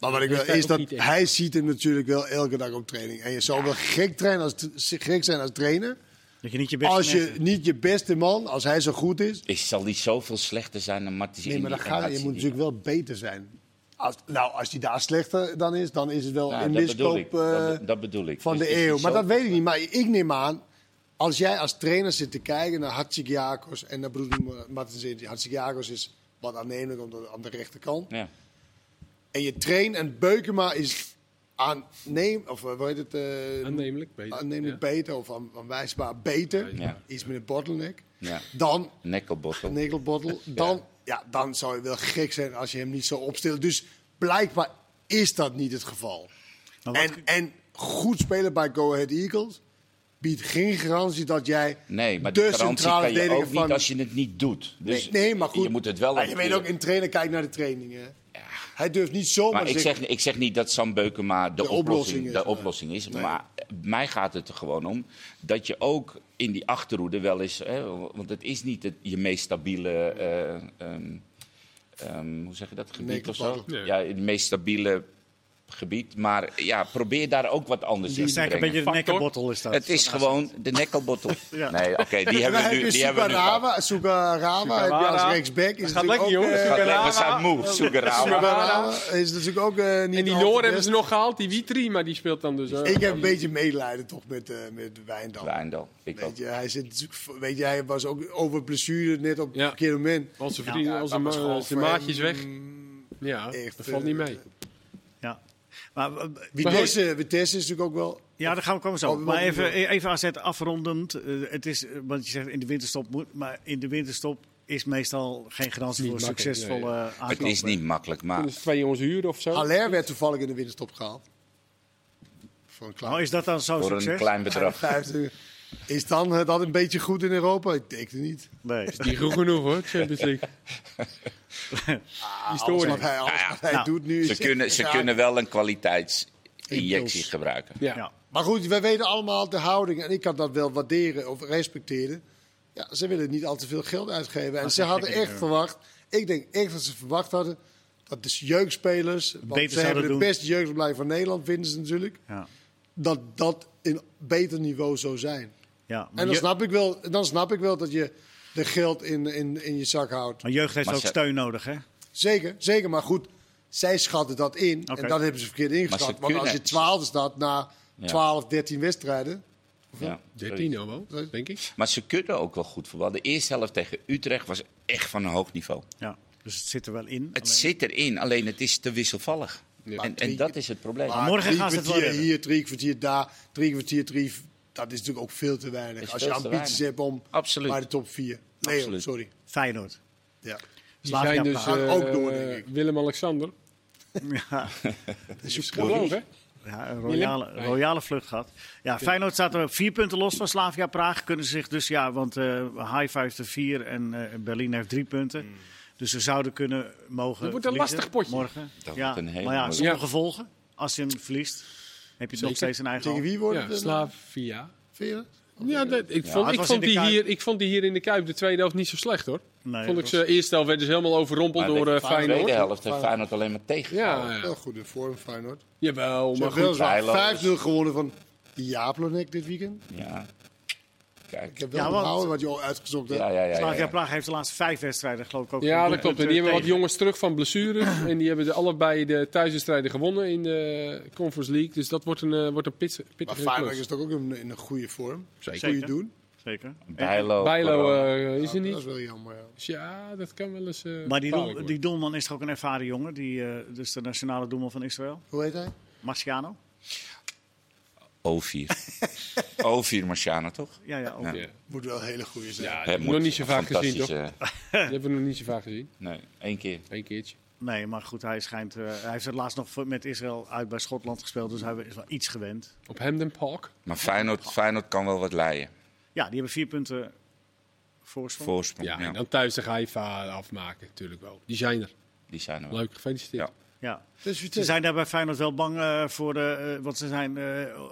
Speaker 3: Maar wat ik wil
Speaker 2: is daar
Speaker 3: is
Speaker 2: ook
Speaker 3: dat
Speaker 2: niet echt.
Speaker 3: hij ziet hem natuurlijk wel elke dag op training. En je zou wel gek, trainen als, gek zijn als trainer.
Speaker 1: Dat je niet je best
Speaker 3: Als je niet je beste man, als hij zo goed is.
Speaker 4: Ik zal niet zoveel slechter zijn dan Martens
Speaker 3: Nee,
Speaker 4: Indy
Speaker 3: maar dan
Speaker 4: en
Speaker 3: ga, je moet
Speaker 4: Hatsidiakos.
Speaker 3: natuurlijk wel beter zijn. Als, nou, als die daar slechter dan is, dan is het wel
Speaker 4: Nou,
Speaker 3: een
Speaker 4: dat bedoel ik.
Speaker 3: miskoop eh,
Speaker 4: Dat be- dat bedoel ik.
Speaker 3: van
Speaker 4: Is-
Speaker 3: de
Speaker 4: is het
Speaker 3: eeuw. Maar
Speaker 4: zo?
Speaker 3: dat weet ik niet. Maar ik neem aan, als jij als trainer zit te kijken naar Hatsigiakos en naar broeder Martens, Hatsigiakos is wat aannemelijk omdat- aan de rechterkant.
Speaker 4: Ja.
Speaker 3: En je traint en Beukema is aanneem, of eh, hoe heet het? eh,
Speaker 2: Aannemelijk, beter.
Speaker 3: aannemelijk beter of aan- aanwijsbaar beter.
Speaker 4: Ja.
Speaker 3: Iets met een bottleneck.
Speaker 4: Ja.
Speaker 3: Dan
Speaker 4: Nekkelbottel.
Speaker 3: Nekelbottel. Dan, ja. dan zou je wel gek zijn als je hem niet zou opstellen. Dus blijkbaar is dat niet het geval.
Speaker 1: Maar wat-
Speaker 3: En, en goed spelen bij Go Ahead Eagles biedt geen garantie dat jij
Speaker 4: Nee, maar
Speaker 3: de
Speaker 4: de garantie
Speaker 3: centrale
Speaker 4: kan je
Speaker 3: verdediger
Speaker 4: ook
Speaker 3: van...
Speaker 4: niet als je het niet doet. Dus
Speaker 3: nee, nee, maar goed.
Speaker 4: Je moet het wel
Speaker 3: Maar je weet ook,
Speaker 4: natuurlijk.
Speaker 3: in trainen kijk naar de trainingen. Hij durft niet zomaar
Speaker 4: Maar ik
Speaker 3: te
Speaker 4: zeg, ik zeg niet dat Sam Beukema de, oplossing,
Speaker 3: oplossing is,
Speaker 4: de
Speaker 3: nee.
Speaker 4: oplossing is. Maar mij gaat het er gewoon om dat je ook in die achterhoede wel eens... Hè, want het is niet het, je meest stabiele... eh, ehm, ehm, hoe zeg je dat? Gebied of zo?
Speaker 3: Nekelbal.
Speaker 2: Ja.
Speaker 4: Ja, het meest stabiele gebied. Maar ja, probeer daar ook wat anders in
Speaker 1: is
Speaker 4: te
Speaker 1: eigenlijk een
Speaker 4: brengen.
Speaker 1: beetje de nekkenbottel is dat.
Speaker 4: Het is gewoon de nekkelbottel.
Speaker 1: Ja.
Speaker 4: Nee, oké, die
Speaker 3: En dan
Speaker 4: hebben we
Speaker 3: heb
Speaker 4: nu.
Speaker 3: je
Speaker 4: Die hebben we nu gehad.
Speaker 3: Sugarama, Sugarama heb je als
Speaker 5: Sugarama.
Speaker 3: rechtsback. Is
Speaker 5: gaat
Speaker 3: natuurlijk
Speaker 5: lekker,
Speaker 3: ook,
Speaker 5: jongen.
Speaker 3: eh,
Speaker 4: Gaat lekker, we
Speaker 5: Sugarama.
Speaker 4: zijn moe. Sugarama.
Speaker 3: Sugarama is natuurlijk ook eh, niet
Speaker 2: En die
Speaker 3: al te
Speaker 2: Noor
Speaker 3: best.
Speaker 2: hebben ze nog gehaald, die Witri, maar die speelt dan dus ook.
Speaker 3: Ik heb een beetje medelijden toch met, eh met Wijndal.
Speaker 4: Wijndal. Ik ook.
Speaker 3: Weet je, hij, zit, natuurlijk v- weet je, hij was ook over blessure net op
Speaker 2: Ja.
Speaker 3: het verkeerde moment. eh,
Speaker 2: Onze vrienden,
Speaker 3: Nou, Ja,
Speaker 2: onze,
Speaker 3: dat was
Speaker 2: ma-
Speaker 3: gewoon
Speaker 2: onze
Speaker 3: voor
Speaker 2: maatjes
Speaker 3: hem,
Speaker 2: weg. Ja,
Speaker 3: echt, eh,
Speaker 2: dat valt niet mee.
Speaker 1: Ja. Maar, eh,
Speaker 3: Vitesse, Vitesse is natuurlijk ook wel...
Speaker 1: ja, daar gaan we komen zo.
Speaker 3: Oh, we
Speaker 1: maar
Speaker 3: mogen
Speaker 1: even,
Speaker 3: door.
Speaker 1: even AZ afrondend. Eh, het is, eh, want je zegt in de winterstop moet, maar in de winterstop is meestal geen garantie
Speaker 2: Niet
Speaker 1: voor
Speaker 2: makkelijk,
Speaker 1: succesvolle
Speaker 2: nee.
Speaker 1: aankopen.
Speaker 4: Het is niet makkelijk, maar
Speaker 2: Dus twee jongens huren of zo.
Speaker 3: Haller werd toevallig in de winterstop gehaald. Voor een
Speaker 1: Oh,
Speaker 3: klein...
Speaker 1: is dat dan zo'n
Speaker 4: voor een
Speaker 1: succes?
Speaker 4: klein bedrag.
Speaker 3: 50. Is dan eh, dat een beetje goed in Europa? Ik denk het niet.
Speaker 1: Nee.
Speaker 2: Die goed genoeg hoor, Champions League.
Speaker 3: Alles
Speaker 2: Historie.
Speaker 3: wat hij, alles wat hij
Speaker 1: Nou,
Speaker 3: doet nu
Speaker 4: Ze
Speaker 3: is-
Speaker 4: kunnen, ze
Speaker 3: Ja.
Speaker 4: kunnen wel een kwaliteitsinjectie gebruiken.
Speaker 2: Ja.
Speaker 1: Ja.
Speaker 3: Maar goed, wij weten allemaal de houding. En ik kan dat wel waarderen of respecteren. Ja, ze willen niet al te veel geld uitgeven. En ze hadden echt verwacht. Ik denk echt dat ze verwacht hadden. Dat de jeugdspelers. Want
Speaker 1: Beter
Speaker 3: ze hebben
Speaker 1: zouden
Speaker 3: de
Speaker 1: doen.
Speaker 3: beste jeugdopleiding van Nederland, vinden ze natuurlijk.
Speaker 1: Ja.
Speaker 3: Dat dat in beter niveau zou zijn.
Speaker 1: Ja, maar
Speaker 3: En dan
Speaker 1: je-
Speaker 3: snap ik wel, dan snap ik wel dat je de geld in, in, in je zak houdt.
Speaker 1: maar jeugd heeft
Speaker 4: Maar
Speaker 1: ook
Speaker 4: ze-
Speaker 1: steun nodig, hè?
Speaker 3: Zeker, zeker. Maar goed, zij schatten dat in.
Speaker 1: Oké.
Speaker 3: En dat hebben ze verkeerd
Speaker 4: Maar
Speaker 3: ingeschat.
Speaker 4: ze
Speaker 3: Want als je
Speaker 4: kunnen-
Speaker 3: twaalfde staat na
Speaker 4: Ja.
Speaker 3: 12, 13 wedstrijden.
Speaker 4: Ja.
Speaker 2: 13 nou wel, denk ik.
Speaker 3: Dus
Speaker 4: Maar ze kunnen ook wel goed voetballen. De eerste helft tegen Utrecht was echt van een hoog niveau.
Speaker 1: Ja. Dus het zit er wel in.
Speaker 4: Het
Speaker 1: alleen-
Speaker 4: zit erin, alleen het is te wisselvallig. En, en dat is het probleem.
Speaker 3: Maar
Speaker 1: morgen
Speaker 3: drie
Speaker 1: gaan ze het wel
Speaker 3: kwartier
Speaker 1: redden.
Speaker 3: hier, drie kwartier daar, drie kwartier drie. Dat is natuurlijk ook veel te weinig.
Speaker 4: Is
Speaker 3: Als je
Speaker 4: veel te
Speaker 3: ambities hebt
Speaker 4: weinig.
Speaker 3: om
Speaker 4: Absoluut.
Speaker 3: bij de top vier. Nee,
Speaker 4: Absoluut.
Speaker 3: sorry.
Speaker 1: Feyenoord.
Speaker 2: Die
Speaker 3: Ja.
Speaker 1: Slavia
Speaker 2: zijn dus
Speaker 1: Praag.
Speaker 2: eh,
Speaker 3: Ook door, denk ik.
Speaker 2: Willem-Alexander.
Speaker 3: eh,
Speaker 1: Ja.
Speaker 2: Geloof hè?
Speaker 1: Ja, een royale,
Speaker 2: Nee.
Speaker 1: royale vlucht gehad. Ja, Feyenoord staat er vier punten los van Slavia Praag. Kunnen ze zich dus, ja, want eh High heeft er vier en eh, Berlin heeft drie punten. Dus ze zouden kunnen mogen.
Speaker 2: Mm. Dat wordt een
Speaker 1: verliezen
Speaker 2: lastig potje.
Speaker 1: Morgen.
Speaker 4: Dat
Speaker 1: ja,
Speaker 4: wordt een hele
Speaker 1: maar ja,
Speaker 4: moeilijke.
Speaker 1: zonder gevolgen. Als je hem verliest, heb je het nog steeds een eigen
Speaker 3: Tegen
Speaker 1: hand.
Speaker 3: wie wordt het?
Speaker 2: Ja,
Speaker 3: eh,
Speaker 2: Slavia.
Speaker 3: Veren?
Speaker 2: Ja, dat- ik,
Speaker 1: het
Speaker 2: vond, ik,
Speaker 1: was in
Speaker 2: vond
Speaker 1: de
Speaker 2: die
Speaker 1: Kuip.
Speaker 2: hier, ik vond die hier in de Kuip de tweede helft niet zo slecht hoor.
Speaker 1: Nee,
Speaker 2: vond
Speaker 1: dat
Speaker 2: ik ze eerste helft werd dus helemaal overrompeld
Speaker 4: Maar
Speaker 2: door
Speaker 4: de
Speaker 2: eh, Feyenoord.
Speaker 4: tweede
Speaker 2: Ja,
Speaker 4: helft heeft Feyenoord alleen maar tegen.
Speaker 2: ja,
Speaker 3: Wel goed in vorm, Feyenoord.
Speaker 2: jawel.
Speaker 3: Ze
Speaker 2: Maar
Speaker 3: hebben wel
Speaker 2: goed,
Speaker 3: zo'n
Speaker 4: Bijlo is-
Speaker 3: 5-0 gewonnen van Japlonek dit weekend.
Speaker 4: Ja.
Speaker 3: Ik
Speaker 4: Kijk.
Speaker 3: heb wel
Speaker 1: Ja, want-
Speaker 3: onthouden wat je al uitgezocht hebt.
Speaker 4: Ja, ja, ja, ja,
Speaker 1: Slavia
Speaker 4: ja.
Speaker 1: Praag heeft de laatste vijf wedstrijden, geloof ik ook.
Speaker 2: Ja,
Speaker 1: een
Speaker 2: dat klopt. En
Speaker 1: doelpunt,
Speaker 2: die hebben
Speaker 1: eh,
Speaker 2: wat jongens terug van blessures. en die hebben de allebei de thuiswedstrijden gewonnen in de Conference League. Dus dat wordt een, eh, wordt een pits,
Speaker 3: Maar
Speaker 2: pittige
Speaker 3: Feyenoord
Speaker 2: klus.
Speaker 3: is toch ook in, in een goede vorm.
Speaker 2: Zeker.
Speaker 3: Goede
Speaker 1: Zeker.
Speaker 3: doen.
Speaker 1: Zeker.
Speaker 4: Bijlo.
Speaker 2: Bijlo
Speaker 4: Corona.
Speaker 2: eh, is er
Speaker 3: Ja, Dat
Speaker 2: niet.
Speaker 3: is wel jammer. ja.
Speaker 2: Dus ja, dat kan wel eens. eh,
Speaker 1: Maar die, doel-
Speaker 2: gevaarlijk worden.
Speaker 1: die doelman is toch ook een ervaren jongen. Die, eh, dus de nationale doelman van Israël,
Speaker 3: Hoe heet hij?
Speaker 1: Marciano.
Speaker 4: O4. O4 Marciano, toch?
Speaker 1: Ja, ja, ook.
Speaker 4: Ja.
Speaker 2: Ja.
Speaker 3: Moet wel een hele goede zijn.
Speaker 2: Ja,
Speaker 4: Hè,
Speaker 2: die hebben we
Speaker 4: moet-
Speaker 2: nog niet zo vaak gezien, toch?
Speaker 4: fantastische-
Speaker 2: Die hebben we nog niet zo vaak gezien.
Speaker 4: Nee, één keer.
Speaker 2: Eén keertje.
Speaker 1: Nee, maar goed, hij, schijnt, eh, hij heeft het laatst nog voor- met Israël uit bij Schotland gespeeld. Dus hij is wel iets gewend.
Speaker 2: Op Hamden Park.
Speaker 4: Maar Feyenoord, Feyenoord kan wel wat leiden.
Speaker 1: Ja, die hebben vier punten voorsprong.
Speaker 4: Voorsprong.
Speaker 2: Ja,
Speaker 4: Ja,
Speaker 2: en dan thuis de Haifa afmaken, natuurlijk wel. Die zijn er.
Speaker 4: Die zijn er wel.
Speaker 2: Leuk, gefeliciteerd.
Speaker 4: Ja.
Speaker 1: Ja.
Speaker 3: Dus
Speaker 1: Ze
Speaker 3: Vitesse.
Speaker 1: zijn daar bij Feyenoord wel bang eh, voor, de, eh, want ze zijn eh,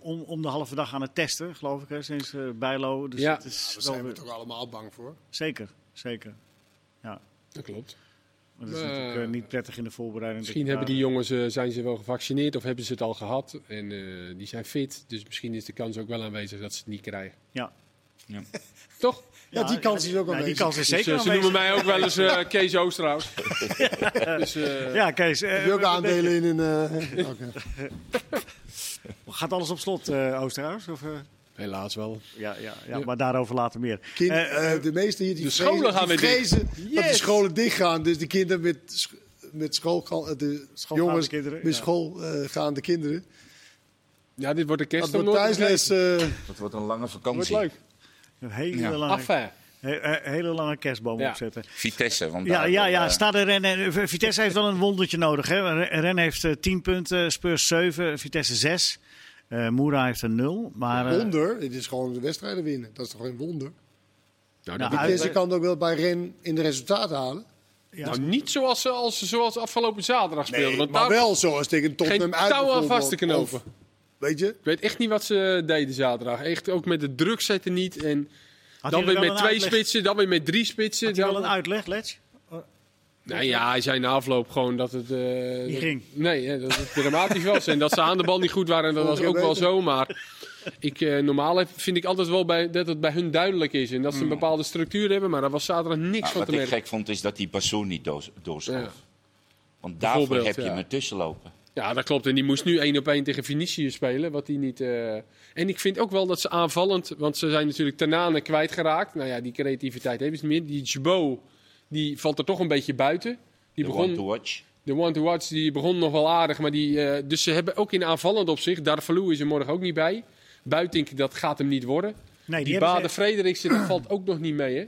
Speaker 1: om, om de halve dag aan het testen, geloof ik, hè, sinds eh, Bijlo. Dus
Speaker 2: Ja.
Speaker 1: het is
Speaker 3: Daar
Speaker 1: wel
Speaker 3: zijn we
Speaker 1: weer-
Speaker 3: toch allemaal bang voor.
Speaker 1: Zeker, zeker. Ja,
Speaker 2: Dat klopt.
Speaker 1: want het is
Speaker 2: Eh,
Speaker 1: natuurlijk eh, niet prettig in de voorbereiding.
Speaker 2: Misschien
Speaker 1: dat je
Speaker 2: hebben die
Speaker 1: daar-
Speaker 2: jongens, eh, zijn ze wel gevaccineerd of hebben ze het al gehad. En eh, die zijn fit. Dus misschien is de kans ook wel aanwezig dat ze het niet krijgen.
Speaker 1: Ja.
Speaker 4: Ja.
Speaker 2: Toch?
Speaker 3: Ja, die kans is
Speaker 1: Nee,
Speaker 3: ook
Speaker 1: die
Speaker 3: aanwezig.
Speaker 1: kans is
Speaker 2: Dus,
Speaker 1: zeker
Speaker 2: eh, ze noemen
Speaker 1: aanwezig.
Speaker 2: mij ook wel eens eh, Kees Oosterhout. dus, eh,
Speaker 1: Ja, Kees. eh,
Speaker 3: Heb je ook
Speaker 1: we- we-
Speaker 3: aandelen in een... eh, oké.
Speaker 1: Gaat alles op slot, eh Oosterhuis? Of, eh?
Speaker 2: Helaas wel.
Speaker 1: ja, ja, ja, maar daarover later meer.
Speaker 3: Kind,
Speaker 1: Eh,
Speaker 3: eh, de meesten hier die
Speaker 2: de
Speaker 3: vrezen,
Speaker 2: scholen gaan
Speaker 3: die
Speaker 2: weer dicht.
Speaker 3: vrezen dat de
Speaker 2: Yes.
Speaker 3: scholen dichtgaan. Dus de kinderen met, sch- met school gaan, de
Speaker 1: Schoolgaande
Speaker 3: jongens
Speaker 1: kinderen,
Speaker 3: met
Speaker 1: ja.
Speaker 3: school eh, gaan de kinderen.
Speaker 2: Ja, dit wordt de
Speaker 3: Dat
Speaker 2: kerst
Speaker 3: wordt thuisles. eh,
Speaker 4: Dat wordt een lange
Speaker 2: wordt
Speaker 4: vakantie.
Speaker 2: leuk.
Speaker 1: een hele,
Speaker 4: Ja.
Speaker 1: lange,
Speaker 2: Enfin.
Speaker 1: he- he- hele lange kerstboom
Speaker 2: Ja.
Speaker 1: opzetten.
Speaker 4: Vitesse, want
Speaker 1: Ja,
Speaker 4: daar-
Speaker 1: ja, ja.
Speaker 4: eh,
Speaker 1: Staat er Rennes, eh, Vitesse heeft wel een wondertje nodig. Hè? Ren- Rennes heeft eh, 10 punten, Spurs 7, Vitesse 6. Eh Moera heeft een 0. Maar, eh,
Speaker 3: wonder, het is gewoon de wedstrijden winnen. Dat is toch geen wonder?
Speaker 2: Nou,
Speaker 1: Nou,
Speaker 2: dat-
Speaker 1: uit-
Speaker 3: Deze kan het ook wel bij Ren in de resultaten halen.
Speaker 1: ja,
Speaker 2: nou, niet zoals, ze- als, ze- zoals afgelopen zaterdag speelden. want
Speaker 3: maar
Speaker 2: daar
Speaker 3: wel zoals tegen
Speaker 2: geen
Speaker 3: Tottenham uit.
Speaker 2: touw aan
Speaker 3: bijvoorbeeld.
Speaker 2: vast te knopen.
Speaker 3: Of, weet je?
Speaker 2: Ik weet echt niet wat ze deden zaterdag. Echt ook met de druk zetten niet. En
Speaker 1: had
Speaker 2: dan
Speaker 1: hij
Speaker 2: weer
Speaker 1: er wel
Speaker 2: met
Speaker 1: een
Speaker 2: twee
Speaker 1: uitleg-
Speaker 2: spitsen, dan weer met drie spitsen.
Speaker 1: Had hij
Speaker 2: Dan...
Speaker 1: wel een uitleg, Lets?
Speaker 2: Nou ja, hij zei na afloop gewoon dat het... eh, dat-
Speaker 1: ging.
Speaker 2: Nee, hè, dat het dramatisch was. En dat ze aan de bal niet goed waren, dat was
Speaker 3: Vorige
Speaker 2: ook wel
Speaker 3: week.
Speaker 2: zo. Maar ik, eh, normaal heb- vind ik altijd wel bij, dat het bij hun duidelijk is. En dat ze een bepaalde structuur hebben. Maar daar was zaterdag niks
Speaker 4: nou,
Speaker 2: van te
Speaker 4: wat ik
Speaker 2: merken.
Speaker 4: gek vond is dat die Bassoon niet doos- doorschoof.
Speaker 2: Ja.
Speaker 4: Want daarvoor
Speaker 2: Bijvoorbeeld,
Speaker 4: heb je
Speaker 2: ja.
Speaker 4: me tussenlopen.
Speaker 2: Ja, dat klopt. En die moest nu één op één tegen Vinicius spelen. Wat die niet. eh, En ik vind ook wel dat ze aanvallend. Want ze zijn natuurlijk Tanane kwijtgeraakt. Nou ja, die creativiteit hebben ze niet meer. Die Jabo, die valt er toch een beetje buiten. Die
Speaker 4: De one to
Speaker 2: begon,
Speaker 4: watch.
Speaker 2: de One to Watch die begon nog wel aardig. Maar die, eh, dus ze hebben ook in aanvallend opzicht. Darvalu is er morgen ook niet bij. Buitink, dat gaat hem niet worden.
Speaker 1: Nee,
Speaker 2: die
Speaker 1: hebben ze-
Speaker 2: Baden Frederiksen, dat valt ook nog niet mee, hè?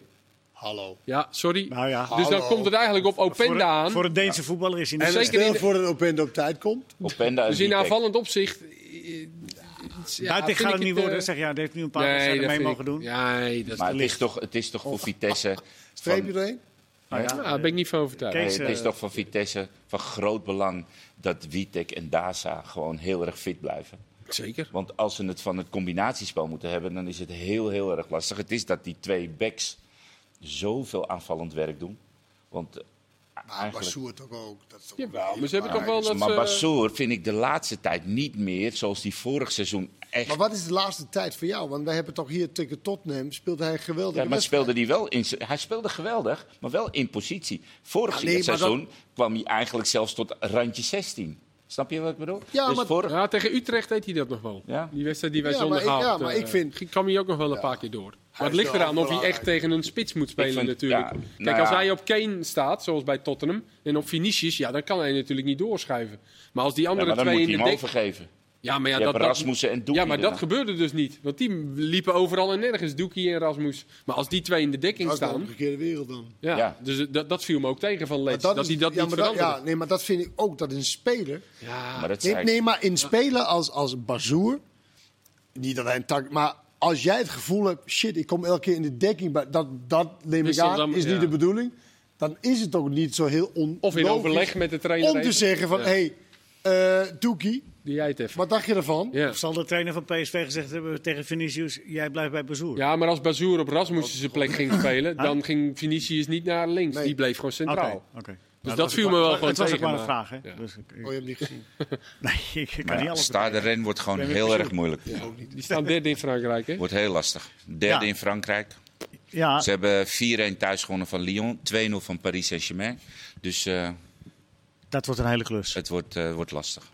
Speaker 3: Hallo.
Speaker 2: Ja, sorry.
Speaker 1: Nou ja,
Speaker 2: dus dan
Speaker 3: hallo.
Speaker 2: komt het eigenlijk op
Speaker 1: voor,
Speaker 2: Openda
Speaker 1: een,
Speaker 2: aan.
Speaker 1: voor een Deense voetballer is hij niet
Speaker 3: En
Speaker 1: slecht.
Speaker 2: zeker in
Speaker 3: stel
Speaker 2: de-
Speaker 3: voor dat Openda op tijd komt.
Speaker 4: Openda
Speaker 2: Dus
Speaker 4: is
Speaker 2: in
Speaker 4: niet echt-
Speaker 2: aanvallend opzicht. eh, eh, ja,
Speaker 1: Buiten
Speaker 2: vind
Speaker 1: gaat
Speaker 2: ik
Speaker 1: het niet
Speaker 2: eh,
Speaker 1: worden. Zeg, ja, dat heeft nu een paar
Speaker 2: Nee,
Speaker 1: wedstrijden
Speaker 2: dat
Speaker 1: mee
Speaker 2: vind
Speaker 1: mogen
Speaker 2: ik-
Speaker 1: doen.
Speaker 2: Ja, nee, dat
Speaker 4: Maar het
Speaker 1: licht.
Speaker 4: is toch, het is toch voor Vitesse.
Speaker 3: Streep
Speaker 4: van-
Speaker 3: je erheen?
Speaker 1: Nou ja,
Speaker 2: Ja, daar ben ik niet van overtuigd.
Speaker 1: Kees,
Speaker 4: Nee, het is
Speaker 1: eh,
Speaker 4: toch voor Vitesse van groot belang dat Witek en Daza gewoon heel erg fit blijven.
Speaker 2: Zeker.
Speaker 4: Want als ze het van het combinatiespel moeten hebben, dan is het heel, heel erg lastig. Het is dat die twee backs zoveel aanvallend werk doen. Want eh,
Speaker 2: Ah,
Speaker 3: Maar
Speaker 4: eigenlijk...
Speaker 3: Bassoer Ah, toch ook. Dat is toch
Speaker 2: Jawel, maar ze hebben toch wel dat eh,
Speaker 4: maar
Speaker 2: ze-
Speaker 4: Bassoer vind ik de laatste tijd niet meer zoals die vorig seizoen echt...
Speaker 3: Maar wat is de laatste tijd voor jou? Want wij hebben toch hier tegen Tottenham speelde hij geweldig.
Speaker 4: Ja, maar speelde die wel in, hij speelde geweldig, maar wel in positie. Vorig
Speaker 3: Ja, nee, maar
Speaker 4: seizoen kwam hij eigenlijk zelfs tot randje 16. Snap je wat ik bedoel?
Speaker 3: Ja,
Speaker 4: Dus
Speaker 3: maar-
Speaker 4: vorig-
Speaker 2: Ja, tegen Utrecht deed hij dat nog wel.
Speaker 4: Ja.
Speaker 2: Die wedstrijd die wij
Speaker 3: Ja, maar
Speaker 2: zondag
Speaker 3: ik- ja,
Speaker 2: hadden.
Speaker 3: maar ik vind-
Speaker 2: Kan hij ook nog wel een paar keer door. Maar het
Speaker 3: is
Speaker 2: ligt
Speaker 3: wel
Speaker 2: eraan of hij
Speaker 3: belangrijk.
Speaker 2: echt tegen een spits moet spelen
Speaker 4: Ik vind-
Speaker 2: natuurlijk.
Speaker 4: ja,
Speaker 2: Kijk,
Speaker 4: nou
Speaker 2: als
Speaker 4: ja.
Speaker 2: hij op Kane staat, zoals bij Tottenham, en op Vinicius, ja, dan kan hij natuurlijk niet doorschuiven. Maar als die
Speaker 4: Ja,
Speaker 2: andere
Speaker 4: maar dan moet
Speaker 2: twee
Speaker 4: hij
Speaker 2: in
Speaker 4: hem
Speaker 2: de dek...
Speaker 4: overgeven.
Speaker 2: Ja, maar ja,
Speaker 4: Je
Speaker 2: dat,
Speaker 4: hebt
Speaker 2: dat-
Speaker 4: Rasmussen en Doekie
Speaker 2: Ja, maar dat
Speaker 4: ernaar.
Speaker 2: gebeurde dus niet. Want die liepen overal en nergens, Doekie en Rasmus. Maar als die twee in de dekking
Speaker 3: Dat is de
Speaker 2: staan...
Speaker 3: omgekeerde wereld dan.
Speaker 2: Ja,
Speaker 4: Ja.
Speaker 2: dus eh, dat, dat viel me ook tegen van Leeds.
Speaker 3: Maar
Speaker 2: Dat,
Speaker 3: is-
Speaker 2: hij dat
Speaker 3: ja,
Speaker 2: niet
Speaker 3: maar dat-
Speaker 2: veranderde.
Speaker 3: ja, nee, maar dat vind ik ook. Dat een speler.
Speaker 2: Ja,
Speaker 4: Maar dat
Speaker 3: Nee,
Speaker 4: zei ik.
Speaker 3: nee, maar in spelen als, als Bazoer. Niet dat hij een tak. Maar als jij het gevoel hebt. shit, ik kom elke keer in de dekking. bij- Dat, dat neem
Speaker 2: Dus
Speaker 3: ik
Speaker 2: dan-
Speaker 3: aan.
Speaker 2: dan-
Speaker 3: is
Speaker 2: ja.
Speaker 3: niet de bedoeling. Dan is het ook niet zo heel on.
Speaker 2: Of in
Speaker 3: logisch
Speaker 2: overleg met de trainer
Speaker 3: Om te
Speaker 2: even.
Speaker 3: zeggen van.
Speaker 2: Ja.
Speaker 3: hé, hey, eh Doekie.
Speaker 2: die jij het even.
Speaker 3: Wat dacht je ervan?
Speaker 2: ja.
Speaker 1: Zal de trainer van PSV gezegd hebben tegen Vinicius, jij blijft bij Bezoer?
Speaker 2: ja, maar als Bazoer op
Speaker 1: Oh.
Speaker 2: Rasmussen zijn plek ging spelen, dan ging Vinicius niet naar links.
Speaker 3: Nee.
Speaker 2: Die bleef gewoon
Speaker 1: Oké,
Speaker 2: centraal. Dus
Speaker 1: oké. Nou,
Speaker 2: dat
Speaker 1: was
Speaker 2: viel
Speaker 1: ook
Speaker 2: me
Speaker 1: maar-
Speaker 2: wel gewoon
Speaker 1: Het was ook
Speaker 2: tegen,
Speaker 1: maar een
Speaker 2: maar-
Speaker 1: vraag, hè?
Speaker 2: Ja.
Speaker 1: Dus ik, ik-
Speaker 3: Oh, je hebt niet gezien.
Speaker 1: nee, ik kan niet
Speaker 4: Ja,
Speaker 1: alles
Speaker 4: Stade Rennes wordt gewoon heel erg moeilijk.
Speaker 2: Die staan derde in Frankrijk, hè?
Speaker 4: Wordt heel lastig. Derde
Speaker 1: Ja.
Speaker 4: in Frankrijk.
Speaker 1: Ja,
Speaker 3: Ah.
Speaker 4: Ze hebben 4-1 thuis gewonnen van Lyon. 2-0 van Paris Saint-Germain. Dus eh,
Speaker 1: dat wordt een hele klus.
Speaker 4: het wordt, eh, wordt lastig.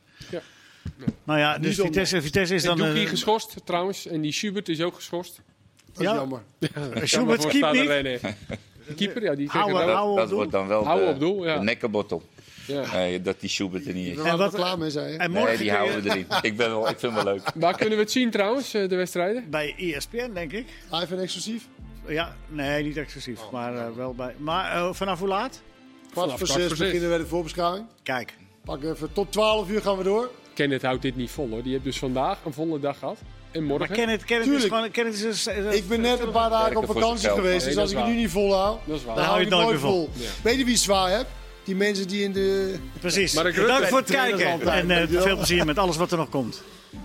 Speaker 1: Nou ja, dus
Speaker 3: Niet om-
Speaker 1: Vitesse, Vitesse is
Speaker 2: En
Speaker 1: dan...
Speaker 2: Doekie
Speaker 1: eh,
Speaker 2: geschorst, trouwens. En die Schubert is ook geschorst.
Speaker 3: Dat is
Speaker 1: Ja.
Speaker 3: jammer.
Speaker 1: Schubert
Speaker 2: Voor
Speaker 1: keept
Speaker 2: Stade
Speaker 1: niet.
Speaker 2: Rennes. eh, De keeper, ja, die
Speaker 1: Hou
Speaker 2: tegen
Speaker 1: maar,
Speaker 2: Rauw-
Speaker 1: hou. op
Speaker 4: Dat
Speaker 1: doel.
Speaker 4: wordt dan wel
Speaker 2: Hou
Speaker 4: de,
Speaker 2: op doel, ja.
Speaker 4: de nekkenbottel.
Speaker 2: Ja.
Speaker 4: Eh, dat die Schubert er niet
Speaker 3: Daar
Speaker 4: is.
Speaker 3: waren
Speaker 1: wat-
Speaker 3: we klaar mee, zei je.
Speaker 1: En morgen
Speaker 4: Nee, die
Speaker 1: kun je
Speaker 4: houden we erin. Ik, ben wel, ik vind hem wel leuk.
Speaker 2: Waar kunnen we het zien, trouwens, eh, de wedstrijden?
Speaker 1: bij E ESPN, denk ik.
Speaker 3: Live en exclusief.
Speaker 1: Ja, nee, niet exclusief,
Speaker 3: Oh.
Speaker 1: maar eh, wel bij... Maar eh, vanaf hoe laat?
Speaker 3: Kwart voor
Speaker 2: kwart voor
Speaker 3: zes
Speaker 2: zes.
Speaker 3: beginnen we de voorbeschouwing.
Speaker 1: Kijk.
Speaker 3: Pak even tot 12 uur gaan we door.
Speaker 2: Kenneth houdt dit niet vol, hoor. Die heeft dus vandaag een volle dag gehad. En
Speaker 1: Maar
Speaker 2: morgen.
Speaker 1: Kenneth, Kenneth is
Speaker 3: Tuurlijk.
Speaker 1: gewoon... Kenneth is een- is een-
Speaker 3: Ik ben net een paar dagen op
Speaker 4: Werken voor
Speaker 3: vakantie
Speaker 4: zijn geld,
Speaker 3: geweest,
Speaker 2: man.
Speaker 3: dus
Speaker 2: Nee,
Speaker 3: als ik
Speaker 2: dat
Speaker 3: het
Speaker 2: is
Speaker 3: nu
Speaker 2: waar.
Speaker 3: niet volhou,
Speaker 2: Dat is waar.
Speaker 3: dan hou ik het nooit vol.
Speaker 2: Ja.
Speaker 3: Weet je wie het zwaar hebt? Die mensen die in de
Speaker 1: Precies.
Speaker 2: Mark Rutte.
Speaker 1: Bedankt voor het
Speaker 3: Trainers
Speaker 1: kijken.
Speaker 3: altijd,
Speaker 1: En eh,
Speaker 3: dankjewel.
Speaker 1: veel plezier met alles wat er nog komt.